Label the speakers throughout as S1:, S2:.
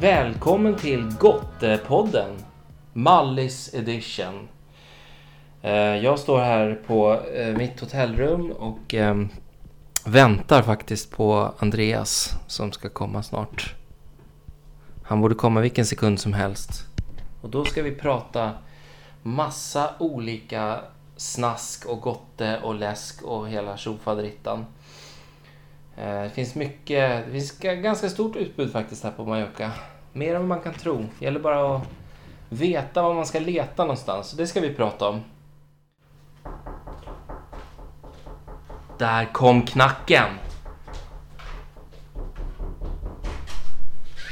S1: Välkommen till Gottepodden. Mallis edition. Eh, Jag står här på eh, mitt hotellrum och ehm, väntar faktiskt på Andreas som ska komma snart. Han borde komma vilken sekund som helst. Och då ska vi prata massa olika snask och gotte och läsk och hela tjofaderittan. Eh, Det finns mycket, det finns ga- ganska stort utbud faktiskt här på Mallorca. Mer än vad man kan tro. Det gäller bara att veta var man ska leta någonstans. Det ska vi prata om. Där kom knacken!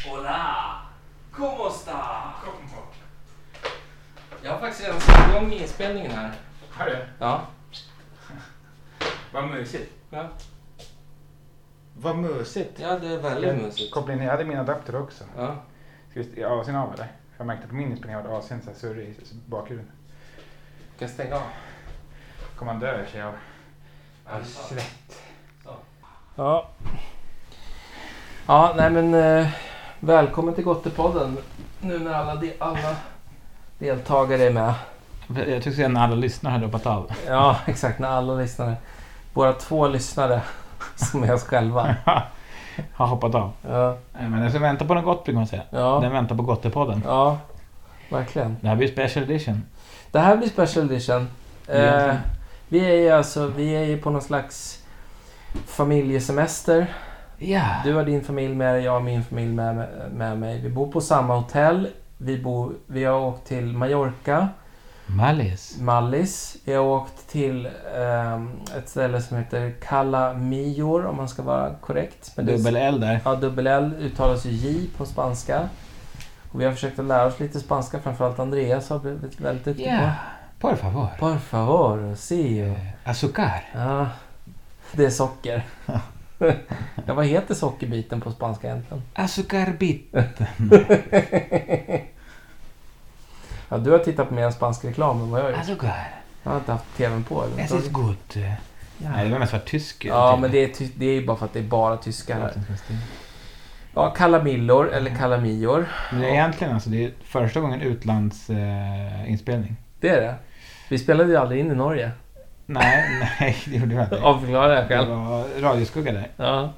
S1: Hola! Como sta? Jag har faktiskt redan satt igång inspelningen här.
S2: Har du?
S1: Ja.
S2: Vad mysigt.
S1: Ja,
S2: Vad mysigt.
S1: ja det är väldigt mysigt.
S2: Koppla in, jag hade min adapter också.
S1: Ja.
S2: Ska vi st- avsnitt av eller? För Jag märkte att min inspelning var asien så här surrig i s- bakgrunden.
S1: Ska jag stänga av?
S2: Kommer han dö i och för sig av
S1: Ja,
S2: av svett?
S1: Så.
S2: Ja.
S1: Ja, nej men eh, välkommen till Gottepodden. Nu när alla, de, alla deltagare är med.
S3: Jag tycker att när alla lyssnar hade hoppat av.
S1: Ja, exakt. När alla lyssnare. Våra två lyssnare som är oss själva.
S3: Har hoppat av.
S1: Ja,
S3: Nej, Men den som väntar på något gott brukar man säga.
S1: ja,
S3: Den väntar på Gottepodden.
S1: ja verkligen.
S3: Det här blir special edition.
S1: Det här blir special edition. Eh,
S3: Egentligen.
S1: vi är ju alltså, vi är ju på någon slags familjesemester.
S3: Ja.
S1: Du har din familj med dig, jag har min familj med, med mig. Vi bor på samma hotell. Vi, bor, vi har åkt till Mallorca,
S3: Mallis.
S1: Mallis. Vi har åkt till ehm, ett ställe som heter Cala Mior om man ska vara korrekt. Men det-
S3: Dubbel L där.
S1: Ja, dubbel L uttalas ju J på spanska. Och vi har försökt att lära oss lite spanska, framförallt Andreas har blivit väldigt duktig
S3: Ja. Por favor.
S1: på. Por favor, si.
S3: Eh, Azúcar.
S1: Ja, det är socker. ja, vad heter sockerbiten på spanska egentligen?
S3: Azúcarbit.
S1: Ja, du har tittat på mer spansk reklam än vad jag har gjort.
S3: Azúcar.
S1: Jag har inte haft tvn på
S3: Es ist
S1: överhuvudtaget.
S3: gut. Nej, det var mest för tysk.
S1: Ja, men det är, ty- det är ju bara för att det är bara tyskar här.
S3: Men
S1: Ja, kalamillor eller kalamior.
S3: det är egentligen alltså, det är första gången utlandsinspelning.
S1: Det är det. Vi spelade ju aldrig in i Norge.
S3: Nej, nej, det gjorde jag inte.
S1: Av förklarliga
S3: Det
S1: skäl.
S3: var radioskugga där.
S1: Ja.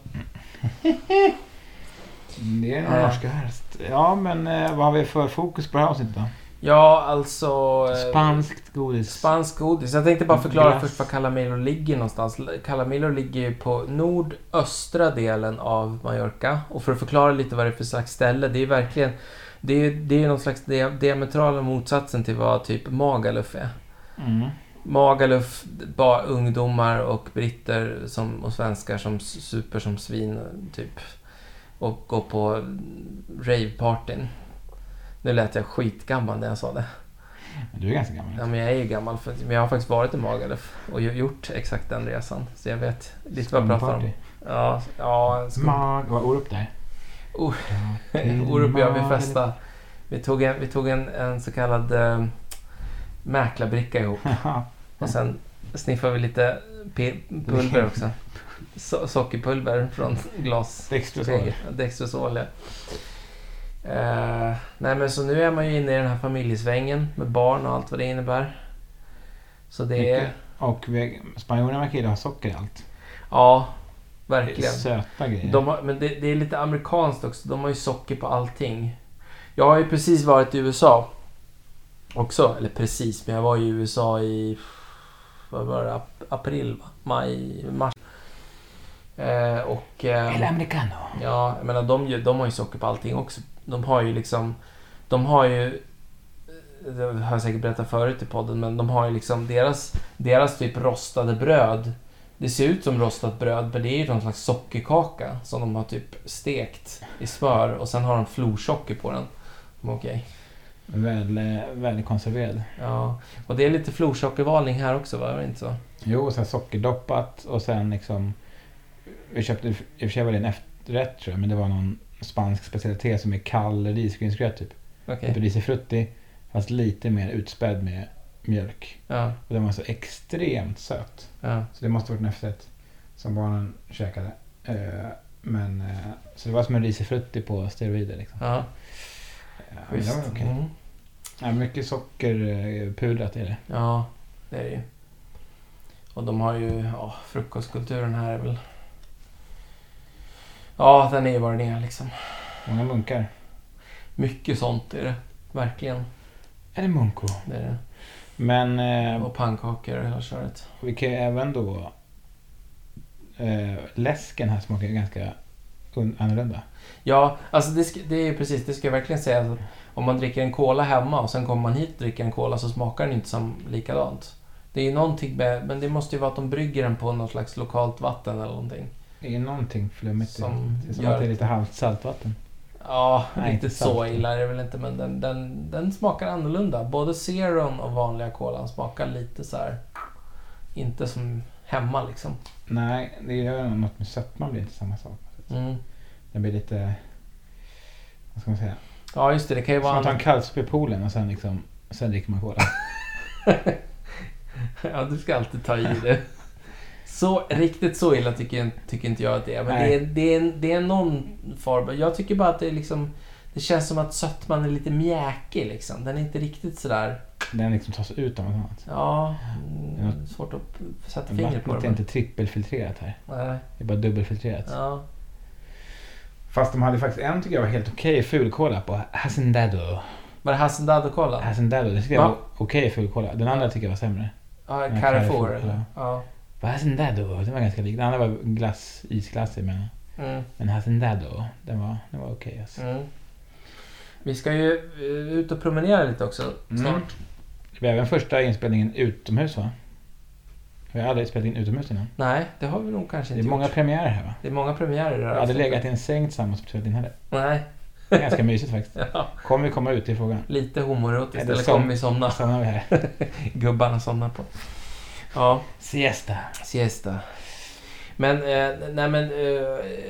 S3: Det är en
S1: Ja.
S3: norska häst. Ja, men eh, vad har vi för fokus på det här avsnittet då?
S1: ja, alltså... eh,
S3: Spanskt godis.
S1: Spansk godis. Jag tänkte bara förklara
S3: Glass.
S1: först var Calamilo ligger någonstans. Calamilo ligger ju på nordöstra delen av Mallorca. Och för att förklara lite vad det är för slags ställe. Det är ju verkligen... Det är ju det är ju någon slags dia- diametrala motsatsen till vad typ Magaluf är.
S3: mm.
S1: Magaluf, bara ungdomar och britter som, och svenskar som s- super som svin, typ. Och går på ravepartyn. Nu lät jag skitgammal när jag sa det.
S3: Men Du är ganska gammal.
S1: Ja, men jag är ju gammal, för, men jag har faktiskt varit i Magaluf och ju- gjort exakt den resan. Så jag vet lite vad jag pratar om.
S3: Skumparty.
S1: Ja, ja skum-
S3: Mag... Vad Orup där?
S1: Oh.
S3: Till
S1: Orup och jag, vi
S3: Mag-
S1: festade. Vi tog en, vi tog en, en så kallad eh, mäklarbricka ihop och sen sniffade vi lite pi- pulver också. So- sockerpulver från glas.
S3: Dextrosol.
S1: Dextrosol, ja. Eh, nej men så nu är man ju inne i den här familjesvängen med barn och allt vad det innebär. Så det är...
S3: Mycket. Och vi- spanjorerna verkar ju ha socker i allt.
S1: Ja,
S3: Det är
S1: verkligen.
S3: söta grejer.
S1: De har, men det, det är lite amerikanskt också. De har ju socker på allting. Jag har ju precis varit i USA. Också. Eller precis, men jag var ju i USA i... Vad var det? Ap- April, va? Maj, mars. Eh, och...
S3: El
S1: Eh,
S3: americano.
S1: ja, jag menar de, ju- de har ju socker på allting också. De har ju liksom... De har ju... Det har jag säkert berättat förut i podden, men de har ju liksom deras, deras typ rostade bröd. Det ser ut som rostat bröd, men det är ju någon slags sockerkaka som de har typ stekt i smör och sen har de florsocker på den. Men Okej.
S3: Väl, eh, välkonserverad.
S1: Ja. Och det är lite florsockervarning här också, va? Är det inte så?
S3: Jo, och sen sockerdoppat och sen liksom... Vi köpte, i och för sig var det en efterrätt tror jag, men det var någon spansk specialitet som är kall risgrynsgröt typ.
S1: Okej.
S3: Okay. Risifrutti, fast lite mer utspädd med mjölk.
S1: Ja,
S3: Och den var så extremt söt.
S1: ja.
S3: Så det måste varit en efterrätt som barnen käkade. Eh, Men, eh, så det var som en risifrutti på steroider. Liksom.
S1: Ja,
S3: Ja, men det
S1: schysst.
S3: var okej.
S1: Mm.
S3: Ja, mycket sockerpudrat är det.
S1: Ja, det är det ju. Och de har ju, ja, frukostkulturen här är väl... Ja, den är ju vad den är liksom.
S3: Många munkar.
S1: Mycket sånt är det. Verkligen.
S3: Eller munko.
S1: Det är det.
S3: Men eh,
S1: Och pannkakor och hela köret.
S3: vi kan ju även då... Eh, läsken här smakar ju ganska un- annorlunda.
S1: Ja, alltså det, sk- det är ju precis, det ska jag verkligen säga. Att om man dricker en cola hemma och sen kommer man hit och dricker en cola så smakar den inte som likadant. Det är ju någonting med, men det måste ju vara att de brygger den på något slags lokalt vatten eller någonting.
S3: Det är ju någonting flummigt i
S1: Som
S3: det. det. är Som
S1: gör-
S3: att det är lite halvt saltvatten.
S1: Ja,
S3: Nej,
S1: riktigt
S3: inte sant.
S1: så illa är det väl inte, men den, den, den smakar annorlunda. Både zeron och vanliga kolan smakar lite så här. inte som hemma liksom.
S3: Nej, det gör nog något med sötman blir inte samma sak.
S1: Mm.
S3: Den blir lite... Vad ska man säga?
S1: Ja, just det, det kan ju
S3: Som
S1: vara...
S3: att ta en kalvsp i poolen och sen liksom... Sen dricker man cola.
S1: Ja, du ska alltid ta i det. Så, riktigt så illa tycker, tycker inte jag att det är. Men det
S3: Nej.
S1: är, det, är, det är någon form. Jag tycker bara att det är liksom... Det känns som att sötman är lite mjäkig liksom. Den är inte riktigt sådär...
S3: Den liksom tas ut av något annat.
S1: Ja,
S3: Ja.
S1: mm, svårt att sätta fingret på
S3: Vattnet
S1: det.
S3: är
S1: men-
S3: inte trippelfiltrerat här.
S1: Nej,
S3: Det är bara dubbelfiltrerat.
S1: ja.
S3: Fast de hade faktiskt en tycker jag var helt okej fulkola på. Hacendado.
S1: Var det Hassendado-kolan?
S3: Hacendado, det tycker jag
S1: Va?
S3: var okej fulkola. Den andra tycker jag var sämre.
S1: Ja,
S3: Ja,
S1: Carrefour.
S3: Carrefour, ja.
S1: Ja.
S3: Vad Hacendado? Den var ganska lik. Den andra var glass, isglass men
S1: Mm,
S3: Men Hacendado, den var, den var okej alltså.
S1: mm. Vi ska ju eh, ut och promenera lite också snart.
S3: Mm. Det var även första inspelningen utomhus va? Vi har aldrig spelat in utomhus innan.
S1: Nej, det har vi nog kanske
S3: Det är
S1: inte
S3: många
S1: gjort.
S3: premiärer här va?
S1: Det är många premiärer. i det här
S3: Jag hade
S1: avsnittet.
S3: legat i en säng tillsammans och spelat in heller.
S1: Nej,
S3: Det är ganska mysigt faktiskt.
S1: ja.
S3: Kommer vi komma ut i frågan?
S1: Lite homoerotiskt.
S3: Är det
S1: Eller
S3: som-
S1: kommer vi somna?
S3: Stannar vi här.
S1: Gubbarna somnar på. Ja,
S3: Siesta.
S1: siesta. Men, eh, nej men... Eh,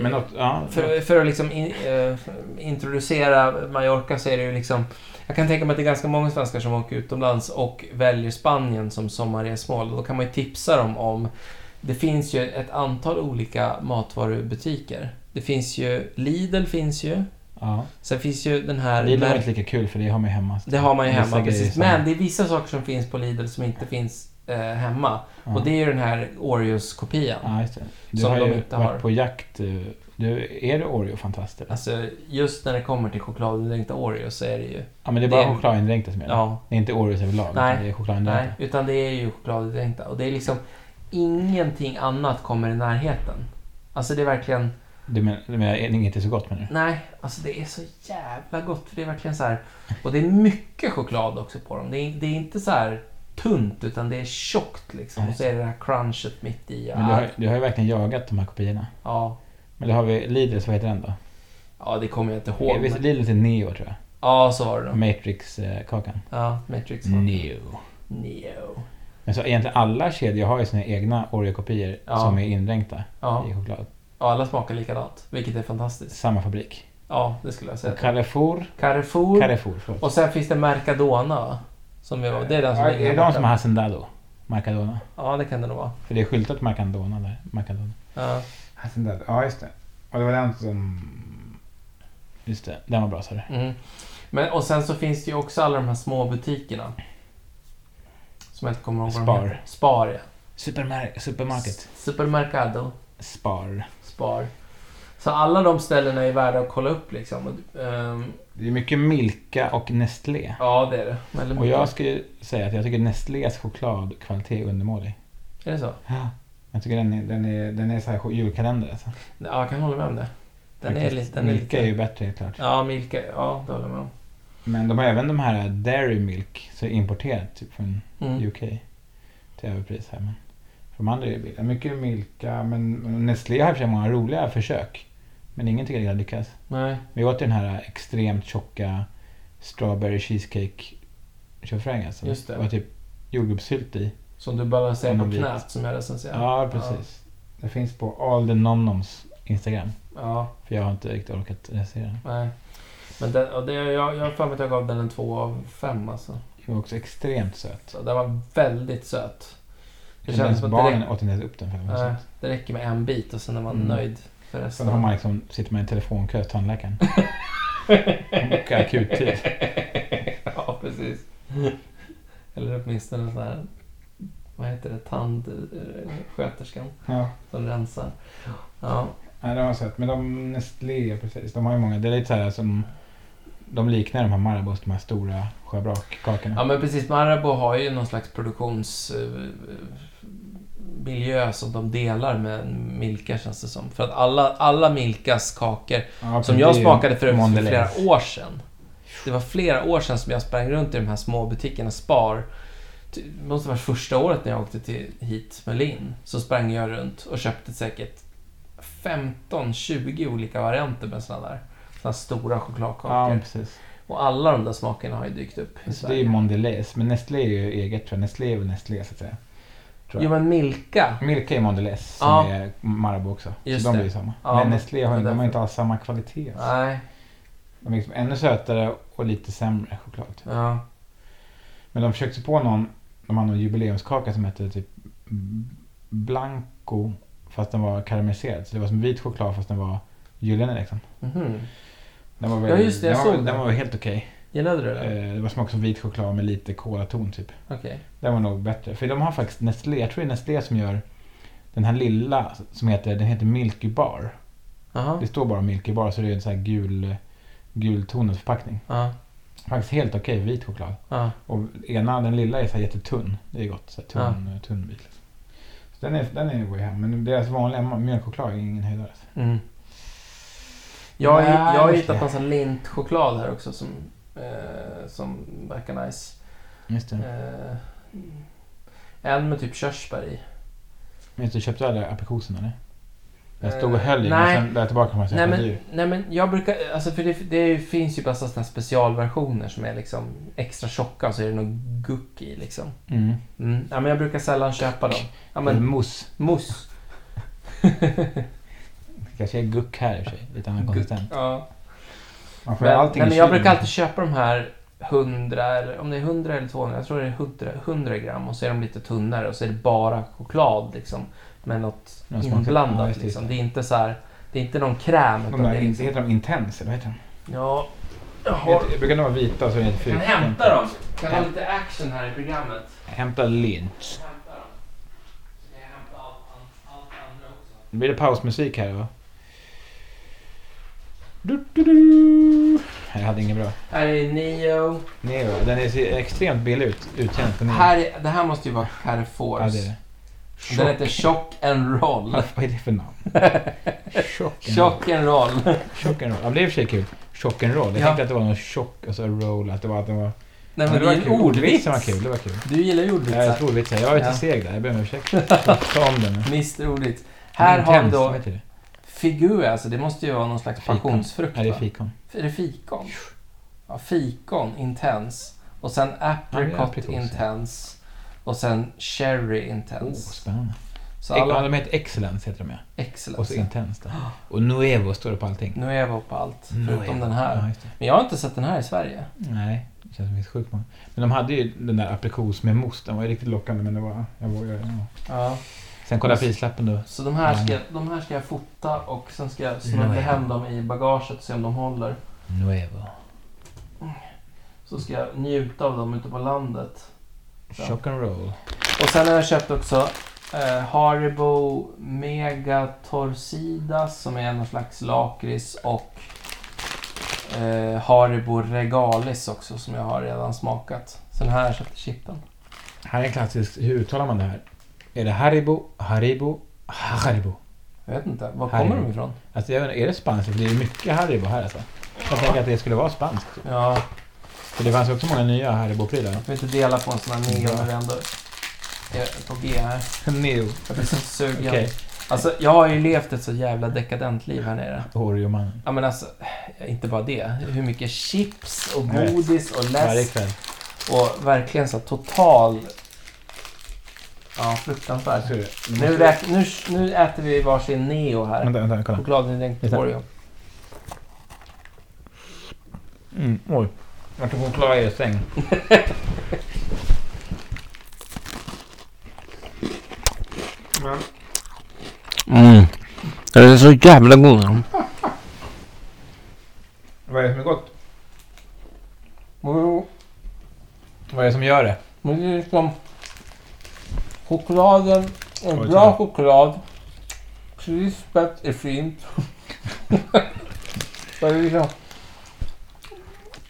S3: Men något, ja.
S1: För, för att liksom in, eh, introducera Mallorca så är det ju liksom... Jag kan tänka mig att det är ganska många svenskar som åker utomlands och väljer Spanien som sommarresmål. Då kan man ju tipsa dem om... Det finns ju ett antal olika matvarubutiker. Det finns ju... Lidl finns ju.
S3: ja.
S1: Sen finns ju den här...
S3: Lidl var
S1: Mer-
S3: inte lika kul för det har man ju hemma.
S1: det har man ju
S3: Vissa
S1: hemma,
S3: grejer
S1: precis.
S3: som-
S1: Men det är vissa saker som finns på Lidl som inte finns eh, hemma.
S3: ja.
S1: Och det är ju den här Oreos-kopian.
S3: Ja, just det. Du
S1: Som
S3: har
S1: de
S3: ju
S1: inte
S3: varit
S1: har.
S3: på jakt. eh, Du, är du Oreo-fantast eller?
S1: Alltså, just när det kommer till chokladindränkta Oreos så är det ju...
S3: ja, men det är bara
S1: det är-
S3: chokladindränkta som gäller.
S1: Ja,
S3: Det är inte Oreos överlag.
S1: Nej.
S3: utan Det är
S1: Nej,
S3: chokladindränkta.
S1: utan det är ju chokladdränkta. Och det är liksom ingenting annat kommer i närheten. Alltså det är verkligen,
S3: Du men- du menar, är det inget är så gott menar du?
S1: nej, alltså det är så jävla gott. För det är verkligen så här, och det är mycket choklad också på dem. Det är, det är inte så här tunt, utan det är tjockt liksom. Och så är det det här crunchet mitt i.
S3: Men du, har,
S1: Ja,
S3: du har ju verkligen jagat de här kopiorna.
S1: ja,
S3: Men då har vi Lidls, vad heter den då?
S1: ja, det kommer jag inte ihåg.
S3: Oh, Visst,
S1: Men,
S3: Lidls är Neo tror jag.
S1: ja, så var det då.
S3: Matrix-kakan.
S1: Ja, Matrix.
S3: Neo.
S1: Neo.
S3: Men så egentligen alla kedjor har ju sina egna Oreo-kopior
S1: Ja.
S3: som är indränkta
S1: Ja,
S3: i choklad.
S1: och alla smakar likadant, vilket är fantastiskt.
S3: Samma fabrik.
S1: Ja, det skulle jag
S3: Och
S1: säga.
S3: Carrefour,
S1: Carrefour.
S3: Carrefour förlåt.
S1: Och sen finns det Mercadona va? som vi var. Det är den som
S3: ja,
S1: ligger
S3: är
S1: här
S3: det de
S1: borta.
S3: som har Hacendado? Macadona.
S1: Ja, det kan det nog vara.
S3: För det är skyltat Macadona där. Macadona.
S1: Ja.
S3: Hacendado, ja just det. Och det var den som... Just det, den var bra sa du.
S1: Mm. Men, och sen så finns det ju också alla de här små butikerna. Som jag inte kommer ihåg vad
S3: Spar.
S1: de heter. Spar. ja.
S3: Supermar- supermarket.
S1: S- Supermercado.
S3: Spar.
S1: Spar. Så alla de ställena är värda att kolla upp liksom. Och, ehm,
S3: Det är mycket Milka och Nestlé.
S1: ja, det är det. Väldigt
S3: Och
S1: mycket.
S3: jag skulle säga att jag tycker Nestlés chokladkvalitet är undermålig.
S1: Är det så?
S3: Ja. Jag tycker den är, den är, den är så här julkalender alltså.
S1: Ja, jag kan hålla med om det. Den är
S3: Faktiskt.
S1: lite... Den är
S3: Milka
S1: lite...
S3: är ju bättre helt klart.
S1: Ja, Milka. Ja, det håller jag med om.
S3: Men de har även de här Dairy Milk, så är importerat typ från
S1: Mm.
S3: UK. Till överpris här men. För de andra är ju billiga. Mycket Milka, men men Nestlé har i och för sig många roliga försök. Men ingen tycker jag har lyckats.
S1: Nej.
S3: Vi åt ju den här extremt tjocka Strawberry Cheesecake tjofräng alltså.
S1: Just det.
S3: var typ jordgubbssylt i.
S1: Som du balanserar på
S3: Mm, det-
S1: knät som jag recenserar.
S3: Ja, precis. Det finns på All the Nomnoms Instagram.
S1: Ja,
S3: För jag har inte riktigt orkat recensera den.
S1: nej. Men den, och det, jag jag har för mig att jag gav den en 2 av 5 alltså.
S3: Den var också extremt söt.
S1: Så den var väldigt söt.
S3: Det
S1: känns
S3: känns
S1: som att
S3: barnen
S1: direkt-
S3: åt inte ens upp den för den var
S1: Nej,
S3: söt.
S1: det räcker med en bit och sen är man
S3: Mm.
S1: nöjd.
S3: Sen har man liksom, sitter man i en telefonkö till tandläkaren. Och akuttid.
S1: ja, precis. Eller åtminstone sån här... Vad heter det? Tandsköterskan
S3: Ja,
S1: som rensar. Ja.
S3: nej, det har jag sett. Men de Nestlé, precis. De har ju många. Det är lite så här som... De liknar de här Marabous, de här stora sjöbrakkakorna.
S1: ja, men precis. Marabou har ju någon slags produktionsmiljö som de delar med Milka känns det som. För att alla, alla Milkas kakor
S3: Ja,
S1: Som
S3: för
S1: jag
S3: det är ju
S1: smakade för, för
S3: Mondelez.
S1: flera år sedan. Det var flera år sedan som jag sprang runt i de här små butikerna. Spar. Det måste ha varit första året när jag åkte till, hit med Linn. Så sprang jag runt och köpte säkert 15-20 olika varianter med sådana där. Sådana stora
S3: Ja,
S1: chokladkakor.
S3: men precis.
S1: Och alla de där smakerna har ju dykt upp i
S3: Så det är ju
S1: Sverige.
S3: Mondelez. Men Nestlé är ju eget tror jag. Nestlé är väl Nestlé så att säga. Tror
S1: Jo
S3: jag.
S1: men Milka.
S3: Milka är Mondelez som
S1: Ja.
S3: är Marabou också.
S1: Just
S3: så de
S1: det.
S3: blir ju samma.
S1: Ja,
S3: men
S1: men-
S3: Nestlé har, ju-
S1: det är
S3: de har
S1: därför.
S3: ju inte alls samma kvalitet.
S1: Nej.
S3: De är liksom ännu sötare och lite sämre choklad.
S1: Ja.
S3: Men de försökte sig på någon, de hade någon jubileumskaka som hette typ Blanco fast den var karamelliserad. Så det var som vit choklad fast den var gyllene liksom.
S1: Mhm.
S3: Den var väl,
S1: Ja, just det, jag
S3: den, var,
S1: såg
S3: den
S1: den.
S3: var helt okej.
S1: Gillade du det?
S3: Eh, Det var som också vit choklad med lite kolaton typ.
S1: Okej.
S3: Den var nog bättre. För de har faktiskt Nestlé, jag tror det är Nestlé som gör den här lilla som heter, den heter Milky Bar.
S1: Jaha.
S3: Det står bara Milky Bar så det är en sån här gul, gultonad förpackning.
S1: Ja.
S3: Faktiskt helt okej vit choklad.
S1: Ja.
S3: Och ena, den lilla är så här jättetunn. Det är gott. Så här tunn, tunn bit. Liksom. Så den är, den är god hem. Men deras vanliga ma- mjölkchoklad är ingen höjdare.
S1: Mm. Jag, har-
S3: Nej,
S1: jag har
S3: just
S1: hittat
S3: det.
S1: massa lintchoklad här också som, eh, som verkar nice.
S3: Just det.
S1: Eh, en med typ körsbär i.
S3: Minns du, köpte du alla aprikoserna eller? Jag stod och
S1: Eh,
S3: höll i men
S1: nej.
S3: sen la jag tillbaka dem och sen
S1: Nej
S3: köpte
S1: men,
S3: du.
S1: nej men jag brukar, alltså för det, det finns ju bara sådana här specialversioner som är liksom extra tjocka och så är det någon guck i liksom.
S3: Mm.
S1: Mm. Ja, men jag brukar sällan köpa dem. Ja, men
S3: Mousse.
S1: mousse.
S3: Det kanske är guck här i och för sig. Lite annan
S1: Guck.
S3: konsistens.
S1: Ja.
S3: Man får ju
S1: Men,
S3: allting
S1: nej,
S3: i
S1: men jag
S3: kylen.
S1: brukar alltid köpa de här 100, eller om det är 100 eller 200, jag tror det är 100, 100 gram och så är de lite tunnare och så är det bara choklad liksom. Med något
S3: Ja, smakar- ja,
S1: inblandat
S3: just det,
S1: liksom.
S3: just
S1: Det är inte så här, det är inte någon kräm.
S3: De
S1: Utan
S3: där,
S1: det är
S3: inte,
S1: liksom,
S3: heter de intens eller vad heter de?
S1: ja, jag har,
S3: Heter- Brukar de vara vita och så är det en
S1: kan
S3: fyrkant?
S1: hämta dem. Kan ha lite action här i programmet.
S3: Hämta lint.
S1: Hämta dem. Ska jag hämta allt, an- allt andra också?
S3: Nu blir det pausmusik här va? Du, du, du. Jag hade ingen bra.
S1: Här är Neo.
S3: Neo. Den ser extremt billig ut. Uttjänt på Neo.
S1: Här, är- det här måste ju vara Carrefours.
S3: Ja, det är det.
S1: Den
S3: Chock.
S1: heter Chock and Roll.
S3: Vad är det för namn? Chock and roll.
S1: Chock and Roll.
S3: Chock and roll. Ja, men det är i och för sig kul. Chock and roll. Jag
S1: Ja.
S3: tänkte att det var någon chock och så roll. Att det var... Att det var...
S1: Nej men,
S3: det
S1: det
S3: var
S1: är
S3: kul.
S1: en ordvits.
S3: Ordvitsen var kul. Det var kul.
S1: Du gillar ju
S3: Ja, jag
S1: ordvitsar.
S3: tror ordvitsar. Jag är lite
S1: Ja.
S3: seg där. Jag ber om ursäkt. Ta ta om den nu.
S1: Mr Ordvits. Här har vi
S3: Intens, vad
S1: då
S3: heter det?
S1: figur, alltså det måste ju vara någon slags
S3: Fikon.
S1: passionsfrukt
S3: Ja, det är
S1: va?
S3: fikon.
S1: Är det fikon? Ja, fikon, intens. Och sen
S3: Ja, det är
S1: apricot
S3: aprikos, ja.
S1: intens. Och sen cherry
S3: Åh,
S1: intens.
S3: Oh, spännande.
S1: Så
S3: Ja,
S1: alla
S3: de heter excellence heter de ja. Och så
S1: excellence.
S3: intens då. Och nuevo står det på allting.
S1: Nu är jag på allt, förutom
S3: Nuevo.
S1: den
S3: Ja,
S1: här.
S3: just det.
S1: Men jag har inte sett den här i Sverige.
S3: Nej, det känns som det finns sjukt många. Men de hade ju den där aprikos med mousse. Den var ju riktigt lockande men det var... Jag vågade. Ja.
S1: Ja.
S3: Sen kolla prislappen då.
S1: Så de här, ska, de här ska jag fota och sen ska jag smuggla
S3: Nuevo.
S1: hem dem i bagaget och se om de håller.
S3: Nuevo.
S1: Så ska jag njuta av dem ute på landet.
S3: Shock and roll.
S1: Och sen har jag köpt också eh, Haribo Mega Torsidas som är någon slags lakrits och eh, Haribo Regalis också som jag har redan smakat. Sen här har jag köpt chippen.
S3: Här är en klassisk... Hur uttalar man det här? Är det Haribo? Haribo? Haribo?
S1: Jag vet inte, var
S3: Haribo.
S1: kommer de ifrån?
S3: Alltså jag vet inte, är det spanskt? För det är mycket Haribo här alltså. Jag tänker att det skulle vara spanskt.
S1: Ja,
S3: För det fanns ju också många nya Haribo-prylar.
S1: jag får inte dela på en sån här neo
S3: Ja.
S1: när det ändå är på G här.
S3: Neo.
S1: Jag blir så sugen.
S3: Okej.
S1: Alltså, jag har ju levt ett så jävla dekadent liv här nere.
S3: Oreo-mannen.
S1: Ja men alltså, inte bara det. Hur mycket chips och
S3: Jag vet.
S1: godis och
S3: Varje
S1: läsk
S3: kväll.
S1: Och verkligen så här total... Ja, fruktansvärt.
S3: Så är det.
S1: Nu, räk- nu, nu äter vi varsin Neo här.
S3: Vänta, vänta, kolla.
S1: Chokladindränkt
S3: Vänta.
S1: Oreo.
S3: Mm, oj. Jag tog choklad i er säng. Men.
S1: Den Mm. är så jävla god.
S3: Vad är det som är gott? Vad är det som gör det?
S1: Men det är liksom... Chokladen
S3: Oj, bra så.
S1: choklad. Krispet är fint. det är liksom,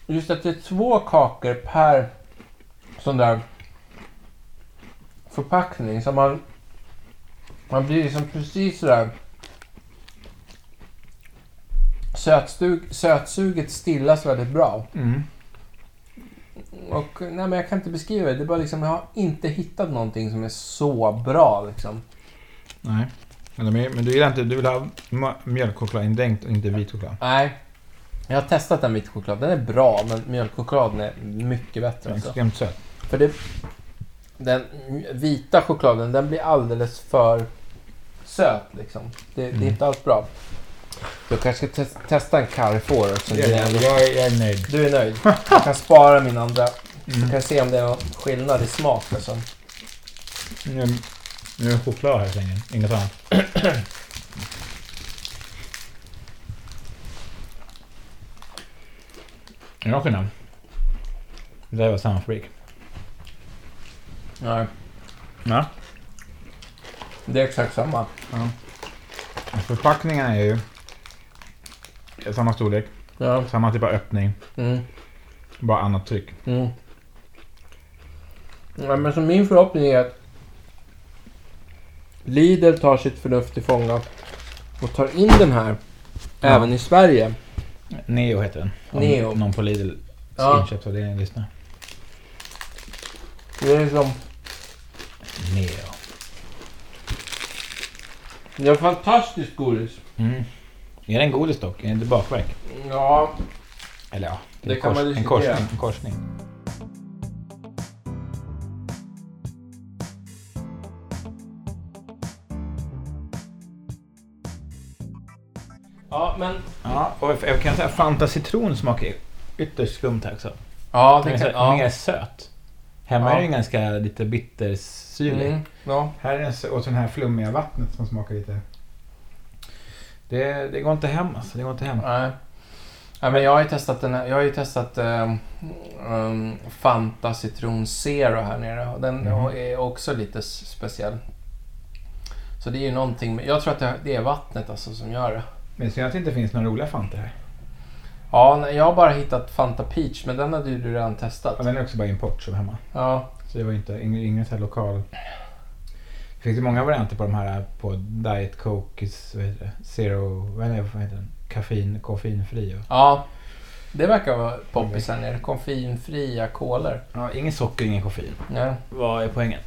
S1: just att det är två kakor per sån där förpackning. Så man, man blir liksom precis sådär sötstug, sötsuget stillas väldigt bra.
S3: Mm.
S1: Och, nej, men jag kan inte beskriva det. det är bara liksom, jag har inte hittat någonting som är så bra. Liksom.
S3: Nej. Eller, men men du gillar inte, du vill ha ma- mjölkchoklad indränkt och inte vit choklad.
S1: Nej. Jag har testat den vit choklad. Den är bra, men mjölkchokladen är mycket
S3: Det
S1: bättre.
S3: är
S1: Alltså.
S3: Extremt söt.
S1: För det, den vita chokladen, den blir alldeles för söt. Liksom. Det, det
S3: Mm.
S1: är inte alls bra. Jag kanske ska tes- testa en Carrefour. Så
S3: Jag, jag, jag, jag är nöjd.
S1: Du är nöjd? Jag kan spara min andra. Jag
S3: Mm.
S1: kan se om det är någon skillnad i smak. Alltså.
S3: Nu, nu är det choklad här så länge. Inget annat. Är det någon skillnad? Det där var samma fabrik.
S1: Nej,
S3: Ja.
S1: det är exakt samma.
S3: Förpackningarna är ju samma storlek,
S1: Ja.
S3: samma typ av öppning,
S1: Mm.
S3: bara annat tryck.
S1: Mm. Ja, men så min förhoppning är att Lidl tar sitt förnuft till fånga och tar in den här
S3: Ja.
S1: även i Sverige.
S3: Neo heter den. Om
S1: Neo.
S3: Någon på Lidl
S1: Ja.
S3: inköpsavdelningen lyssnar.
S1: Det är liksom,
S3: Neo.
S1: det är fantastiskt godis.
S3: Mm. Är det en godis dock? Är det inte bakverk?
S1: Ja,
S3: Eller ja,
S1: Det
S3: en
S1: kan man
S3: en
S1: diskutera.
S3: korsning. En korsning.
S1: ja men...
S3: Ja, och jag- jag kan säga att Fanta citron smakar ju ytterst skumt här också.
S1: Ja,
S3: Den är
S1: det
S3: så,
S1: kan... Ja.
S3: mer söt. Hemma
S1: Ja.
S3: är den ganska lite bittersyrlig.
S1: Mm, ja.
S3: Här är den så- och så den här flummiga vattnet som smakar lite... Det, det går inte hem alltså. Det går inte hem.
S1: Nej. Nej, men jag har ju testat, den här, jag har ju testat ehm, ehm, Fanta Citron Zero här nere. Och Den
S3: Mhm.
S1: är också lite s- speciell. Så det är ju någonting med, Jag tror att det, det är vattnet alltså som gör det.
S3: Men synd att det inte finns några roliga Fanta här.
S1: Ja, nej, jag har bara hittat Fanta Peach, men den hade ju du redan
S3: Ja,
S1: testat.
S3: den är också bara import som hemma.
S1: Ja,
S3: Så det var inte, ing- ingen så här lokal... Det finns ju många varianter på de här på Diet Coke, vad heter det? Zero, vad är det, vad heter den? Kaffein, koffeinfri och...
S1: ja. Det verkar vara poppis här nere. Koffeinfria kolor.
S3: Ja, ingen socker, ingen koffein.
S1: Ja.
S3: Vad är poängen?